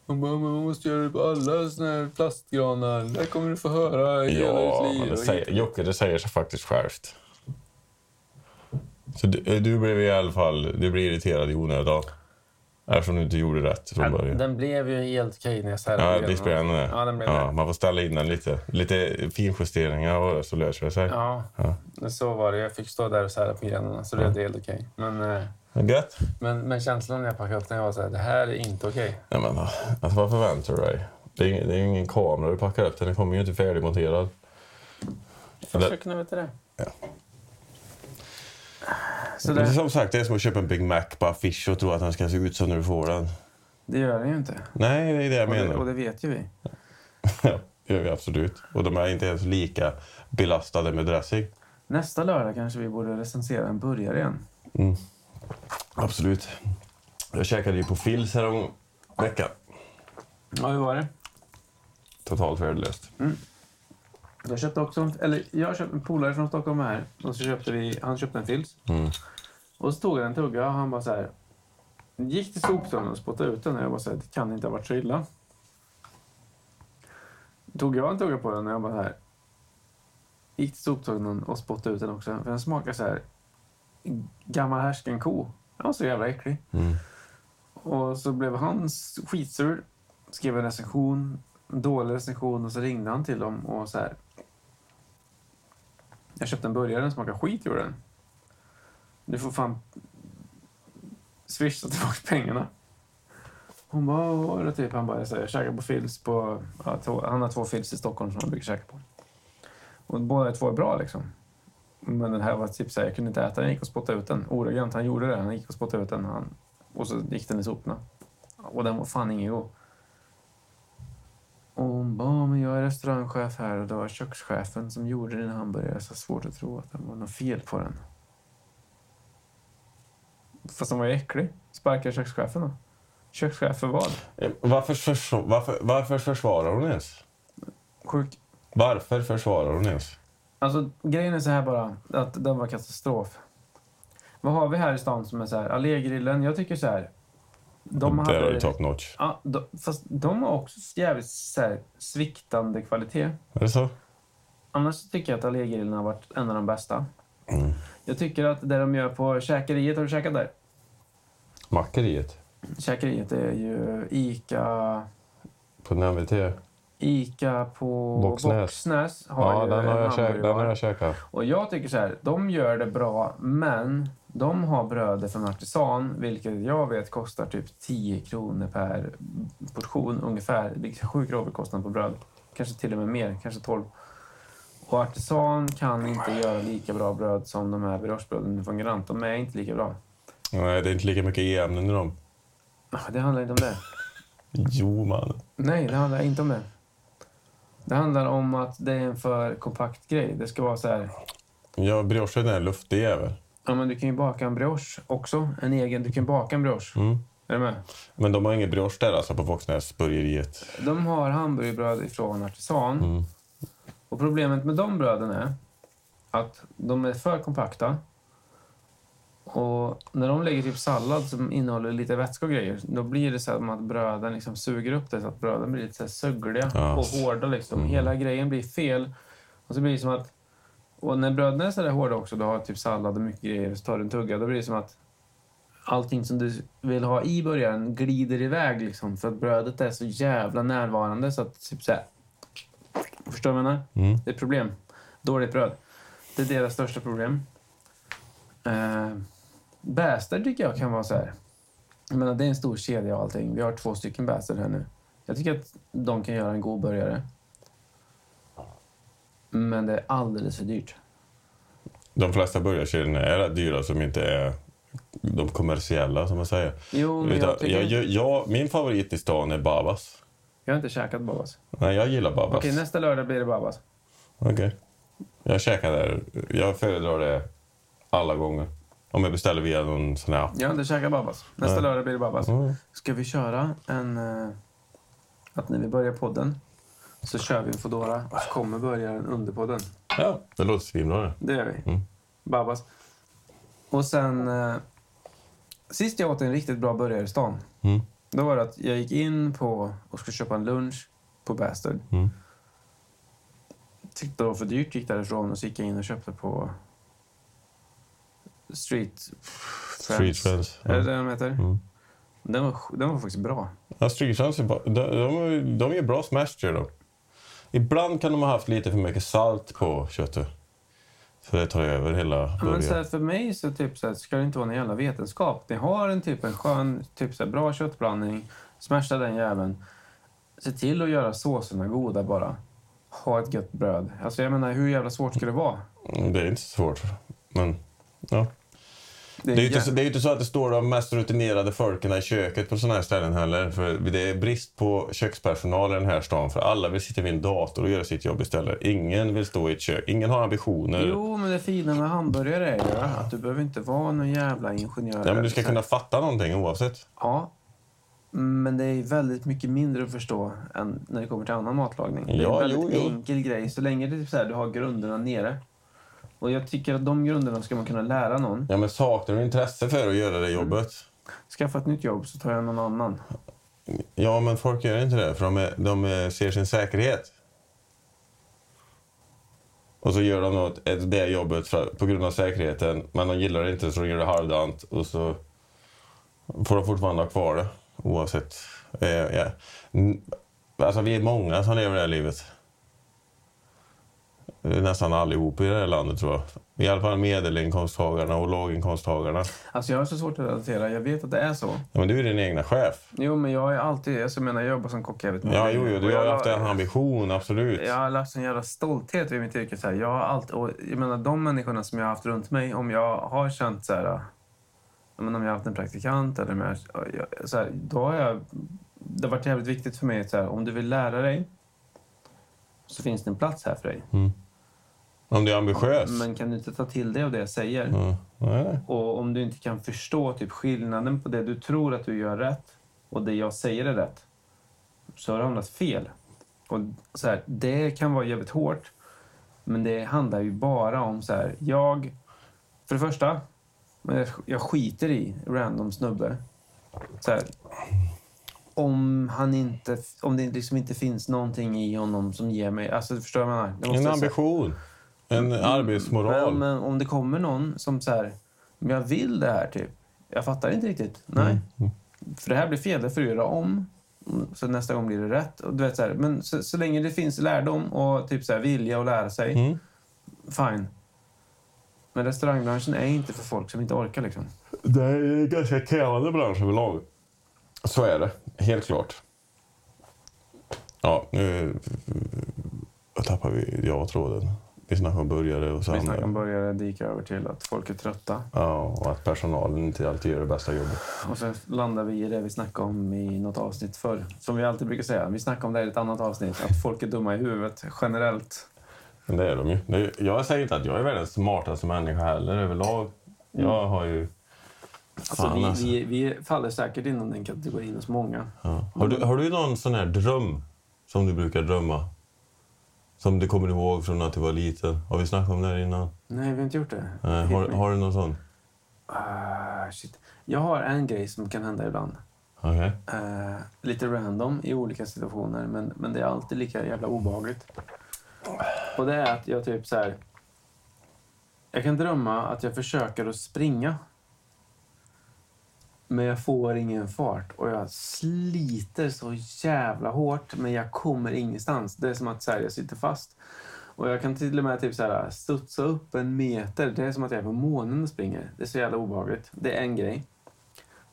Speaker 3: Hon bara “men man måste göra det på alla såna här plastgranar, det här kommer du få höra i hela
Speaker 2: Ja,
Speaker 3: ditt
Speaker 2: men
Speaker 3: liv”.
Speaker 2: det
Speaker 3: Och
Speaker 2: säger, Jocke, det säger sig faktiskt självt. Så du, eh, du blev i alla fall du blir irriterad i onödan. Eftersom du inte gjorde rätt från
Speaker 3: hit-
Speaker 2: början.
Speaker 3: Den blev ju helt okej när jag särade
Speaker 2: Ja,
Speaker 3: på grenarna.
Speaker 2: displayhandeln
Speaker 3: Ja, den blev det.
Speaker 2: Man får ställa in den lite. Lite finjusteringar och så löser det sig.
Speaker 3: Ja, så var det. Jag fick stå där och sära på grenarna så det blev helt okej. Men, eh,
Speaker 2: Men gött.
Speaker 3: men, men känslan när jag packade upp den jag var så här “det här är inte okej”.
Speaker 2: Nej, men, alltså, vad förväntar du dig? Det är, ingen, det är ju ingen kamera du packar upp, den Den kommer ju inte färdigmonterad.
Speaker 3: Först kunde jag veta det.
Speaker 1: så
Speaker 2: Men
Speaker 1: det,
Speaker 2: som sagt, det är som att köpa en Big Mac på affisch och tro att den ska se ut så när du får den.
Speaker 1: det gör den ju inte.
Speaker 2: Nej, det är det jag
Speaker 1: Och det, och
Speaker 2: menar.
Speaker 1: det vet ju vi.
Speaker 2: Ja, gör vi absolut. Och de är inte ens lika belastade med dressing.
Speaker 1: Nästa lördag kanske vi borde recensera en burgare igen.
Speaker 2: Mm. Absolut. Jag käkade ju på Phils härom veckan.
Speaker 3: Ja, hur var det?
Speaker 2: Totalt värdelöst.
Speaker 1: Jag köpte också, en- eller jag köpte en polare från Stockholm här och så köpte vi, han köpte en Phils.
Speaker 2: Mm.
Speaker 1: Och så tog jag en tugga och han bara så här gick till soptunnan och spottade ut den och jag bara så här, det kan inte ha varit så illa. Tog jag en tugga på den och jag bara så här gick till soptunnan och spottade ut den också för den smakar så här gammal härskenko. Den var så jävla äcklig.
Speaker 2: Mm.
Speaker 1: Och så blev han s- skitsur, skrev en recension, en dålig recension och så ringde han till dem och så här. Jag köpte en burgare, den smakar skit gjorde den. Du får fan swisha tillbaka pengarna. Hon bara, vad var det typ? Han bara, jag, säger, jag käkar på Phils på... Ja, två, han har två Phils i Stockholm som han brukar käka på. Och båda två är bra liksom. Men den här var typ såhär, jag kunde inte äta den, jag gick och spottade ut den. Ordagrant, han gjorde det. Han gick och spottade ut den. Han, och så gick den i soporna. Och den var fan ingen god. Och hon bara, men jag är restaurangchef här och det var kökschefen som gjorde din hamburgare. Så svårt att tro att det var något fel på den. Fast den var ju äcklig. Sparkade kökschefen då? Kökschef för vad?
Speaker 2: Eh, Varför, försv- varför, varför försvarar hon ens?
Speaker 1: Sjuk.
Speaker 2: Varför försvarar hon ens?
Speaker 1: Alltså grejen är så här bara, att den var katastrof. Vad har vi här i stan som är så här? Allégrillen, jag tycker så här. De
Speaker 2: Där har du
Speaker 1: hade...
Speaker 2: top notch.
Speaker 1: Ja, de, fast de har också jävligt så här, sviktande kvalitet.
Speaker 2: Är det så?
Speaker 1: Annars så tycker jag att Allégrillen har varit en av de bästa.
Speaker 2: Mm.
Speaker 1: Jag tycker att det de gör på Käkeriet, har du käkat där?
Speaker 2: Mackeriet
Speaker 1: Käkeriet är ju Ica...
Speaker 2: på den MVT.
Speaker 1: Ica på
Speaker 2: Boxnäs.
Speaker 1: Boxnäs har
Speaker 2: Ja,
Speaker 1: ju
Speaker 2: den har,
Speaker 1: en
Speaker 2: jag käk, den har
Speaker 1: hamburgerbar.
Speaker 2: jag käkat.
Speaker 1: Och jag tycker så här, de gör det bra, men de har brödet från artisan, vilket jag vet kostar typ 10 kronor per portion ungefär. Det är sjuk överkostnad på bröd. Kanske till och med mer, kanske 12. Och artisan kan inte göra lika bra bröd som de här berörsbröden från Grant. De är inte lika bra.
Speaker 2: Nej, det är inte lika mycket e-ämnen i dem.
Speaker 1: Ah, Det handlar inte om det.
Speaker 2: Jo, man.
Speaker 1: Nej, det handlar inte om det. Det handlar om att det är en för kompakt grej. Det ska vara så här...
Speaker 2: Ja, briochen är en luftig jävel.
Speaker 1: Ja, men du kan ju baka en brioche också. En egen. Du kan baka en brioche.
Speaker 2: Mm.
Speaker 1: Är du med?
Speaker 2: Men de har ingen brioche där alltså på Våxnäsburgeriet.
Speaker 1: De har hamburgerbröd ifrån artisan.
Speaker 2: Mm.
Speaker 1: Och problemet med de bröden är att de är för kompakta. Och när de lägger typ sallad som innehåller lite vätska och grejer, då blir det så här att bröden liksom suger upp det så att bröden blir lite så här sögliga
Speaker 2: Ja. Mm.
Speaker 1: och hårda. Liksom. Hela grejen blir fel. Och så blir det som att... Och när bröden är så där hårda också, du har typ sallad och mycket grejer, så tar du en tugga, då blir det som att allting som du vill ha i början glider iväg liksom. För att brödet är så jävla närvarande så att typ så här... Förstår du vad jag menar?
Speaker 2: Mm.
Speaker 1: Det är ett problem. Dåligt bröd. Det är deras största problem. Eh, Bästar tycker jag kan vara så här. Jag menar, det är en stor kedja och allting. Vi har två stycken Bästar här nu. Jag tycker att de kan göra en god burgare. Men det är alldeles för dyrt.
Speaker 2: De flesta burgarkedjorna är rätt dyra som inte är de kommersiella som man säger.
Speaker 1: Jo, men
Speaker 2: Utan,
Speaker 1: jag,
Speaker 2: jag
Speaker 1: tycker, jag,
Speaker 2: jag, jag, min favorit i stan är Babas.
Speaker 1: har inte käkat Babas.
Speaker 2: Nej, jag gillar Babas.
Speaker 1: Okej, nästa lördag blir det Babas.
Speaker 2: Okej. Jag käkar där. Jag föredrar det alla gånger. Om jag beställer via någon sån här app.
Speaker 1: Jag har inte käkat Babas. Nästa
Speaker 2: Nej.
Speaker 1: lördag blir det Babas.
Speaker 2: Mm.
Speaker 1: Ska vi köra en... eh, Att när vi börjar podden så kör vi en Foodora och så kommer burgaren under podden.
Speaker 2: Ja, det låter svinbra det.
Speaker 1: Det gör vi.
Speaker 2: Mm.
Speaker 1: Babas. Och sen... eh, Sist jag åt en riktigt bra burgare i stan,
Speaker 2: Mm.
Speaker 1: då var det att jag gick in på och skulle köpa en lunch på Bastard.
Speaker 2: Mm.
Speaker 1: Tyckte det var för dyrt, gick därifrån och så gick jag in och köpte på Street Friends.
Speaker 2: Street Friends.
Speaker 1: Är det
Speaker 2: Ja.
Speaker 1: det de heter?
Speaker 2: Mm.
Speaker 1: Den, var, den var faktiskt bra.
Speaker 2: Ja, Street Friends är ba- de, de, de är bra smash gör de. Ibland kan de ha haft lite för mycket salt på köttet. Så det tar över hela
Speaker 1: Ja, Men så
Speaker 2: burgaren.
Speaker 1: här, för mig så, typ, så här, ska det inte vara någon jävla vetenskap. Ni har en typ en skön, typ, så här, bra köttblandning, smärta den jäveln. Se till att göra såserna goda bara. Ha ett gött bröd. Alltså jag menar, hur jävla svårt ska det vara?
Speaker 2: Mm, Det är inte så svårt. Men ja. Det är, ju inte, så- det är ju inte så att det står de mest rutinerade folken i köket på sådana här ställen heller. För det är brist på kökspersonal i den här stan. För alla vill sitta vid en dator och göra sitt jobb istället. Ingen vill stå i ett kök. Ingen har ambitioner.
Speaker 1: Jo, men det fina med hamburgare är ju att du behöver inte vara någon jävla ingenjör.
Speaker 2: Ja, men du ska kunna fatta någonting oavsett.
Speaker 1: Ja. Men det är väldigt mycket mindre att förstå än när det kommer till annan matlagning. det är
Speaker 2: Ja,
Speaker 1: en väldigt
Speaker 2: jo, jo.
Speaker 1: enkel grej. Så länge det är så här, du har grunderna nere. Och jag tycker att de grunderna ska man kunna lära någon.
Speaker 2: Ja, men saknar du intresse för att göra det jobbet?
Speaker 1: Skaffa ett nytt jobb så tar jag någon annan.
Speaker 2: Ja, men folk gör inte det för de, är, de eh, ser sin säkerhet. Och så gör de något, ett- det jobbet för, på grund av säkerheten, men de gillar det inte så de gör det halvdant och så får de fortfarande ha kvar det oavsett. Eh, ja. N- Alltså vi är många som lever det här livet. Det är nästan allihop i det här landet tror jag. I alla fall medelinkomsttagarna och låginkomsttagarna.
Speaker 1: Alltså jag har så svårt att relatera. Jag vet att det är så.
Speaker 2: Ja, men du är din egna chef.
Speaker 1: Jo, men jag är alltid... Alltså, jag menar, jag jobbar som kock jävligt mycket.
Speaker 2: Ja, jo, jo,
Speaker 1: Och
Speaker 2: du har ju haft en
Speaker 1: jag,
Speaker 2: ambition, absolut.
Speaker 1: jag har haft en jävla stolthet vid mitt yrke. Så här. Jag, har allt, och, jag menar, de människorna som jag har haft runt mig, om jag har känt så här... ja, Men om jag har haft en praktikant eller om jag, ja, jag, så här, då har jag... Det har varit jävligt viktigt för mig. Så här, om du vill lära dig så finns det en plats här för dig.
Speaker 2: Om du är ambitiös?
Speaker 1: Men kan du inte ta till dig av det jag säger
Speaker 2: Ja. Nej.
Speaker 1: och om du inte kan förstå typ skillnaden på det du tror att du gör rätt och det jag säger är rätt, så har du hamnat fel. Och så här, det kan vara jävligt hårt, men det handlar ju bara om så här, jag... För det första, men jag- jag skiter i random snubbe. Så här, om, han inte, om det liksom inte finns någonting i honom som ger mig... Alltså, förstår du vad jag menar? Det
Speaker 2: En
Speaker 1: måste-
Speaker 2: ambition. En arbetsmoral.
Speaker 1: men, men om det kommer någon som så här, "Men jag vill det här typ. Jag fattar inte riktigt. Nej.
Speaker 2: Mm.
Speaker 1: För det här blir fel, det får du göra om. Mm, Så nästa gång blir det rätt. Och du vet, så här, men så, så länge det finns lärdom och typ så här, vilja att lära sig,
Speaker 2: Mm.
Speaker 1: fine. Men restaurangbranschen är inte för folk som inte orkar liksom.
Speaker 2: Det är en ganska krävande bransch överlag. Så är det, helt klart. Ja, nu eh, tappar vi jag tråden. Vi snackar om burgare och sen...
Speaker 1: Vi snackar om började dyka över till att folk är trötta.
Speaker 2: Ja, och att personalen inte alltid gör det bästa jobbet.
Speaker 1: Och så landar vi i det vi snackade om i något avsnitt förr. Som vi alltid brukar säga, vi snackade om det här i ett annat avsnitt. Att folk är dumma i huvudet generellt.
Speaker 2: Men det är de ju. Det är- Jag säger inte att jag är världens smartaste människa heller överlag.
Speaker 1: Mm.
Speaker 2: Jag har ju...
Speaker 1: Alltså,
Speaker 2: Fan,
Speaker 1: vi,
Speaker 2: alltså.
Speaker 1: Vi, vi faller säkert inom den kategorin hos många.
Speaker 2: Ja. Har, du, har du någon sån här dröm som du brukar drömma? Som du kommer ihåg från att du var liten? Har vi snackat om det här innan?
Speaker 1: Nej, vi har inte gjort det.
Speaker 2: Nej, Eh, har, har du någon sån?
Speaker 1: Ah, shit. Jag har en grej som kan hända ibland.
Speaker 2: Okej.
Speaker 1: Eh, lite random i olika situationer, men, men det är alltid lika jävla obehagligt. Och det är att jag typ så här... Jag kan drömma att jag försöker att springa. Men jag får ingen fart och jag sliter så jävla hårt men jag kommer ingenstans. Det är som att så här, jag sitter fast. Och jag kan till och med typ så här, studsa upp en meter. Det är som att jag är på månen och springer. Det är så jävla obehagligt. Det är en grej.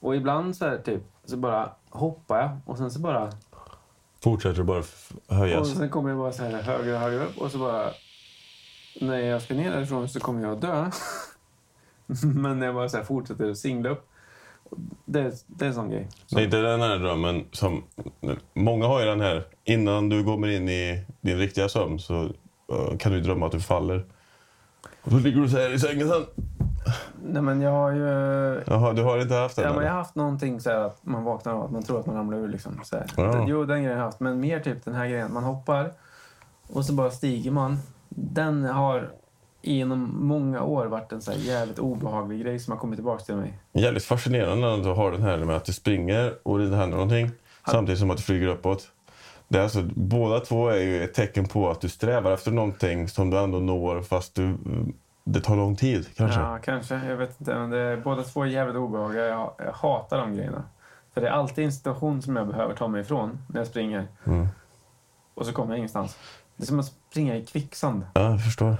Speaker 1: Och ibland så här typ, så bara hoppar jag och sen så bara...
Speaker 2: Fortsätter du bara f-
Speaker 1: Och
Speaker 2: höjas?
Speaker 1: sen kommer jag bara så här högre och högre upp och så bara... När jag ska ner därifrån så kommer jag att dö. Men när jag bara så här fortsätter att singla upp. Det, det är en sån grej.
Speaker 2: Det är inte den här drömmen som... Många har ju den här. Innan du kommer in i din riktiga sömn så eh, kan du drömma att du faller. Och så ligger du så här i sängen sen.
Speaker 1: Nej men jag har ju...
Speaker 2: Jaha, du har inte haft den?
Speaker 1: Ja, men
Speaker 2: eller?
Speaker 1: jag har haft någonting så här att man vaknar av att man tror att man ramlar ur. Liksom, så här.
Speaker 2: Ja.
Speaker 1: Jo, den grejen har jag haft. Men mer typ den här grejen. Man hoppar och så bara stiger man. Den har genom många år varit en så här jävligt obehaglig grej som har kommit tillbaka till mig.
Speaker 2: Jävligt fascinerande att du har den här med att du springer och det inte händer någonting samtidigt som att du flyger uppåt. Det är alltså, båda två är ju ett tecken på att du strävar efter någonting som du ändå når fast du, det tar lång tid kanske.
Speaker 1: Ja, kanske. Jag vet inte. Men det är, båda två är jävligt obehagliga. Jag, jag hatar de grejerna. För det är alltid en situation som jag behöver ta mig ifrån när jag springer.
Speaker 2: Mm.
Speaker 1: Och så kommer jag ingenstans. Det är som att springa i kvicksand.
Speaker 2: Ja, jag förstår.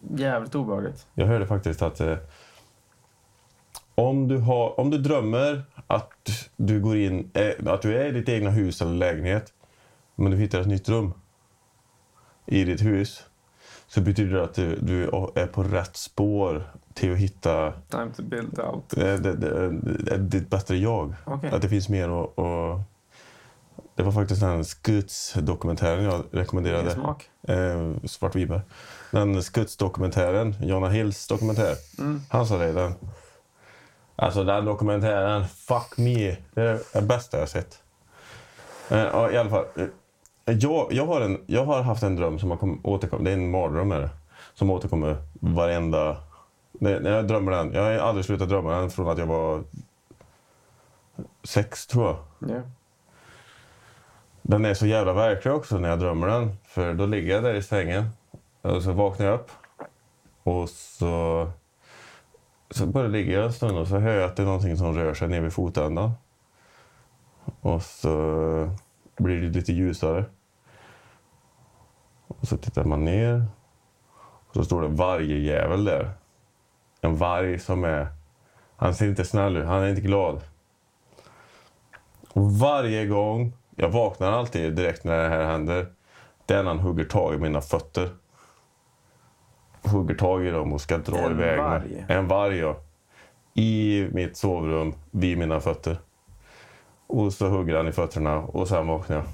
Speaker 1: Jävligt obehagligt.
Speaker 2: Jag hörde faktiskt att eh, om, du har, om du drömmer att du, går in, eh, att du är i ditt egna hus eller lägenhet men du hittar ett nytt rum i ditt hus så betyder det att du, du är på rätt spår till att hitta
Speaker 1: Time to build out.
Speaker 2: eh, det- det- det- ditt bättre jag.
Speaker 1: Okej.
Speaker 2: Att det finns mer att... att det var faktiskt den Skuts-dokumentären jag rekommenderade.
Speaker 1: Ingen smak.
Speaker 2: Eh, Svart Viberg. Den Skuts-dokumentären, Jonna Hills dokumentär. Han sa det i den. Alltså den dokumentären, fuck me. Det är det bästa jag sett. Eh, ja, I alla fall. Eh, Jag, jag, har en, jag har haft en dröm som har kom, återkommit. Det är en mardröm är det, Som återkommer varenda... Det, när jag drömmer den. Jag har aldrig slutat drömma den från att jag var sex tror jag.
Speaker 1: Ja.
Speaker 2: Den är så jävla verklig också när jag drömmer den. För då ligger jag där i sängen och så vaknar jag upp. Och så, så bara ligger jag en stund och så hör jag att det är någonting som rör sig ner vid fotändan. Och så blir det lite ljusare. Och så tittar man ner. Och så står det en vargjävel där. En varg som är... Han ser inte snäll ut, han är inte glad. Och varje gång, jag vaknar alltid direkt när det här händer, det är när han hugger tag i mina fötter. Hugger tag i dem och ska dra
Speaker 1: En
Speaker 2: iväg
Speaker 1: varg?
Speaker 2: mig. En varg, ja. I mitt sovrum, vid mina fötter. Och så hugger han i fötterna och sen vaknar jag.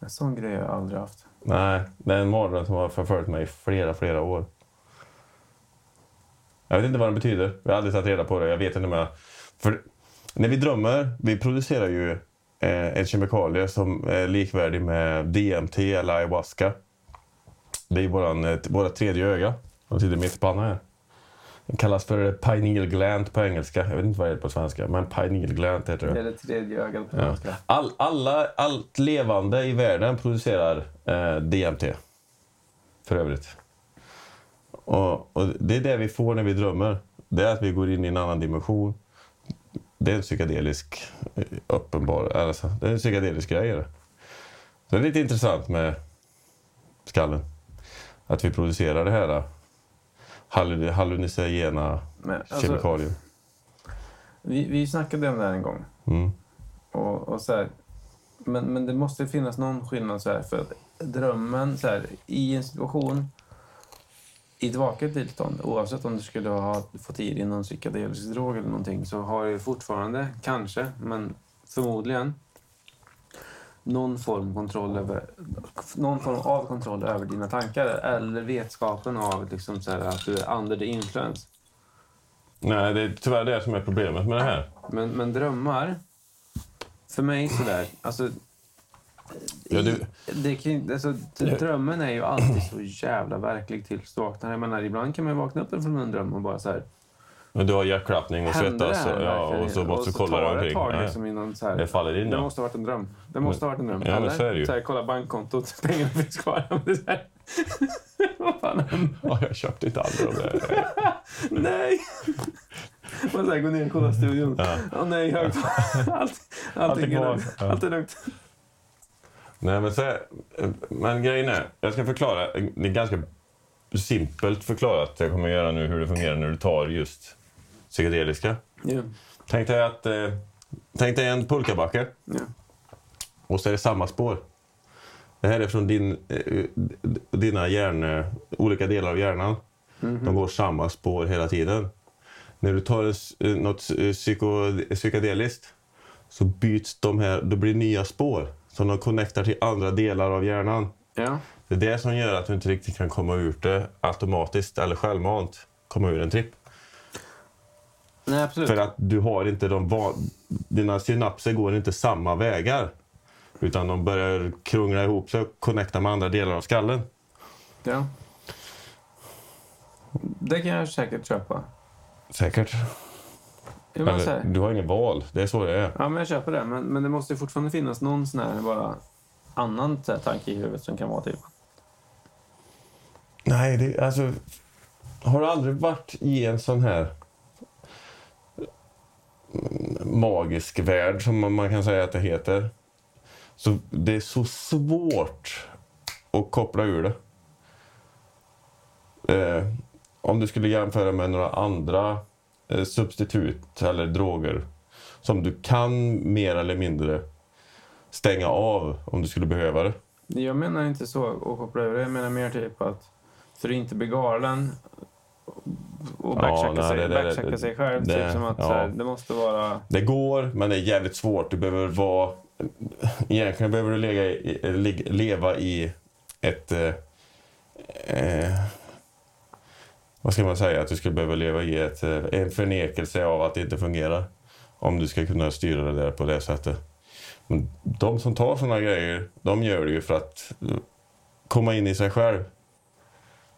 Speaker 1: En sån grej har jag aldrig haft.
Speaker 2: Nej, det är en mardröm som har förföljt mig i flera, flera år. Jag vet inte vad den betyder. Jag har aldrig tagit reda på det. Jag vet inte om jag... För när vi drömmer, vi producerar ju eh, en kemikalie som är likvärdig med DMT eller ayahuasca. Det är våran, eh, våra tredje öga. De sitter mitt i pannan här. Den kallas för pineal gland på engelska. Jag vet inte vad det är på svenska, men pineal gland heter det.
Speaker 1: Det är det tredje ögat på
Speaker 2: Ja.
Speaker 1: svenska.
Speaker 2: All, alla, allt levande i världen producerar eh, DMT. För övrigt. Och, och det är det vi får när vi drömmer. Det är att vi går in i en annan dimension. Det är en psykedelisk eh, uppenbar... Alltså, det är en psykedelisk grej. är det. Så det är lite intressant med skallen. Att vi producerar det här eh, hallu- hallucinogena
Speaker 1: Men, alltså,
Speaker 2: kemikalier.
Speaker 1: vi, vi snackade om det här en gång.
Speaker 2: Mm.
Speaker 1: Och, och så här, men, men det måste ju finnas någon skillnad så här, för att drömmen så här, i en situation i ett vaket tillstånd, oavsett om du skulle ha fått i dig någon psykedelisk drog eller någonting så har du fortfarande, kanske, men förmodligen någon form, kontroll över, någon form av kontroll över dina tankar eller vetskapen av liksom så här, att du är under the influence.
Speaker 2: Nej, det är tyvärr det som är problemet med det här.
Speaker 1: Men, men drömmar, för mig sådär, alltså...
Speaker 2: Ja, du-
Speaker 1: det kan, ju- alltså d- drömmen är ju alltid så jävla verklig tills du vaknar. Jag menar, ibland kan man ju vakna upp från en dröm och bara så här...
Speaker 2: Men du har hjärtklappning och
Speaker 1: "Hände det
Speaker 2: svettas
Speaker 1: här
Speaker 2: och, ja,
Speaker 1: verkligen?"
Speaker 2: och så måste du kolla
Speaker 1: tar
Speaker 2: dig
Speaker 1: det ett
Speaker 2: omkring.
Speaker 1: Tag,
Speaker 2: Ja,
Speaker 1: liksom, innan, så här,
Speaker 2: Det faller in
Speaker 1: det
Speaker 2: då.
Speaker 1: måste ha varit en dröm. Det måste ha varit en dröm.
Speaker 2: Ja, men så är det ju.
Speaker 1: Så här, kolla bankkontot, pengarna finns kvar. Det är så här, Vad fan
Speaker 2: Ja, jag köpte inte aldrig de där.
Speaker 1: Nej! Man så här, gå ner och kolla studion. Åh
Speaker 2: Ja.
Speaker 1: nej, högt. Allt,
Speaker 2: Allt är
Speaker 1: allting är
Speaker 2: kvar.
Speaker 1: lugnt.
Speaker 2: Ja.
Speaker 1: Allt är lugnt.
Speaker 2: Nej, men, så, men grejen är, jag ska förklara. Det är ganska simpelt förklarat. Jag kommer göra nu hur det fungerar när du tar just psykedeliska.
Speaker 1: Ja.
Speaker 2: Tänk dig, att, eh, tänk dig en pulkabacke
Speaker 1: Ja.
Speaker 2: och så är det samma spår. Det här är från din, eh, d- dina hjärn, eh, olika delar av hjärnan. De går samma spår hela tiden. När du tar en s- eh, något eh, psyko, psykedeliskt så byts de här, då blir det nya spår som de connectar till andra delar av hjärnan.
Speaker 1: ja.
Speaker 2: Det är det som gör att du inte riktigt kan komma ur det automatiskt eller självmant. Komma ur en tripp.
Speaker 1: Nej, absolut.
Speaker 2: För att du har inte de van... Dina synapser går inte samma vägar. Utan de börjar krångla ihop sig och connecta med andra delar av skallen.
Speaker 1: Ja. Det kan jag säkert köpa.
Speaker 2: Säkert.
Speaker 1: Jag, menar, så
Speaker 2: Eller,
Speaker 1: här,
Speaker 2: du har inget val. Det är så det är.
Speaker 1: ja, men jag köper det, men, men det måste ju fortfarande finnas någon sån här bara annan så här, tanke i huvudet som kan vara typ...
Speaker 2: Nej, det, alltså... Har du aldrig varit i en sån här mm, magisk värld, som man- man kan säga att det heter. Så det är så svårt att koppla ur det. Eh, om du skulle jämföra med några andra eh, substitut eller droger som du kan mer eller mindre stänga av om du skulle behöva det.
Speaker 1: Jag menar inte så att koppla över. Jag menar mer typ att så du inte blir galen och
Speaker 2: Ja,
Speaker 1: backchecka
Speaker 2: nej,
Speaker 1: sig,
Speaker 2: det- det-
Speaker 1: backchecka
Speaker 2: det-
Speaker 1: sig själv.
Speaker 2: det-
Speaker 1: typ som att
Speaker 2: ja.
Speaker 1: så här, det måste vara...
Speaker 2: Det går, men det är jävligt svårt. Du behöver vara... Egentligen behöver du lägga i, eh, lig- leva i ett... Eh, eh, vad ska man säga? Att du skulle behöva leva i ett, eh, en förnekelse av att det inte fungerar. Om du ska kunna styra det där på det sättet. Men de som tar sådana grejer, de gör det ju för att eh, komma in i sig själv.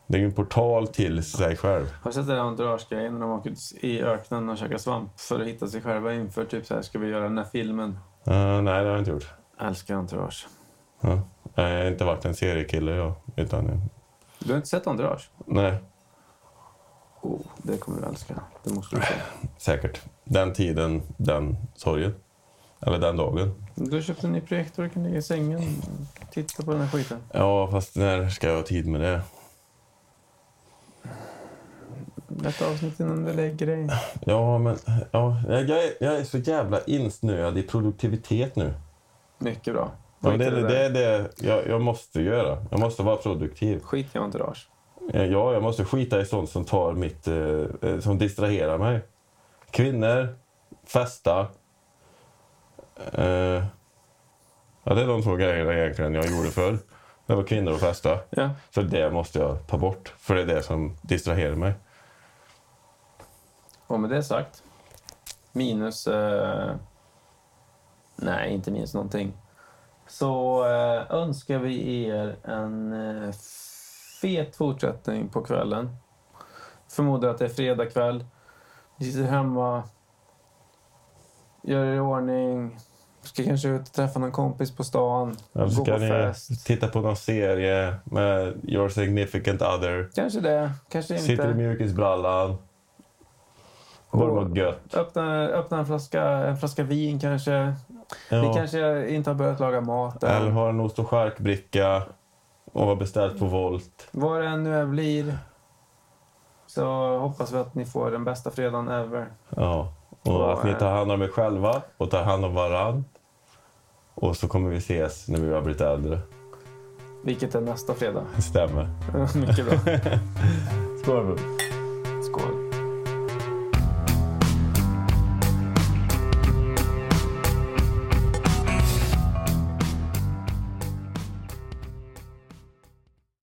Speaker 2: Det är ju en portal till sig själv.
Speaker 1: Har du sett det där entourage-grejen när de åker ut i öknen och käkar svamp för att hitta sig själva inför typ så här, ska vi göra den här filmen?
Speaker 2: Eh, nej, det har jag inte gjort.
Speaker 1: Jag älskar entourage.
Speaker 2: Ja. Nej, Jag har inte varit en seriekille jag. Utan,
Speaker 1: Du har inte sett entourage?
Speaker 2: nej,
Speaker 1: Oh, det kommer du älska. Det måste du se.
Speaker 2: säkert. Den tiden, den sorgen. Eller den dagen.
Speaker 1: Du har köpt en ny projektor och kan ligga i sängen och titta på den här skiten.
Speaker 2: Ja, fast när ska jag ha tid med det?
Speaker 1: Ett avsnitt innan du lägger dig.
Speaker 2: Ja, men ja, jag, jag är, jag är så jävla insnöad i produktivitet nu.
Speaker 1: Mycket bra.
Speaker 2: Ja,
Speaker 1: Skit
Speaker 2: det,
Speaker 1: i
Speaker 2: är-
Speaker 1: där.
Speaker 2: det är det jag, jag måste göra. Jag måste vara produktiv.
Speaker 1: Skit i entourage.
Speaker 2: Eh, Ja, jag måste skita i sånt som tar mitt... eh, Eh, som distraherar mig. Kvinnor, festa. Eh, ja, det är de två grejerna egentligen jag gjorde förr. Det var kvinnor och festa.
Speaker 1: Ja.
Speaker 2: För det måste jag ta bort. För det är det som distraherar mig.
Speaker 1: Och med det sagt, minus... Eh, nej, inte minus någonting. Så eh, önskar vi er en eh, fet fortsättning på kvällen. Förmodar att det är fredag kväll. Ni sitter hemma, gör er i ordning, ska kanske ut och träffa någon kompis på stan,
Speaker 2: Eller så
Speaker 1: gå på
Speaker 2: kan ni
Speaker 1: fest.
Speaker 2: titta på någon serie med your significant other.
Speaker 1: Kanske det, kanske inte.
Speaker 2: Sitter i mjukisbrallan. Går
Speaker 1: Och-
Speaker 2: något gött.
Speaker 1: Öppna, öppna en, flaska, en flaska vin kanske. Ni
Speaker 2: Ja.
Speaker 1: kanske inte har börjat laga mat
Speaker 2: Eller
Speaker 1: än.
Speaker 2: har en ost och charkbricka. Och har beställt på Volt.
Speaker 1: Vad det än nu än blir så hoppas vi att ni får den bästa fredagen ever.
Speaker 2: Ja, och
Speaker 1: Och,
Speaker 2: att ni
Speaker 1: eh,
Speaker 2: tar hand om er själva och tar hand om varann. Och så kommer vi ses när vi har blivit äldre.
Speaker 1: Vilket är nästa fredag.
Speaker 2: Det stämmer.
Speaker 1: Mycket bra.
Speaker 2: Skål!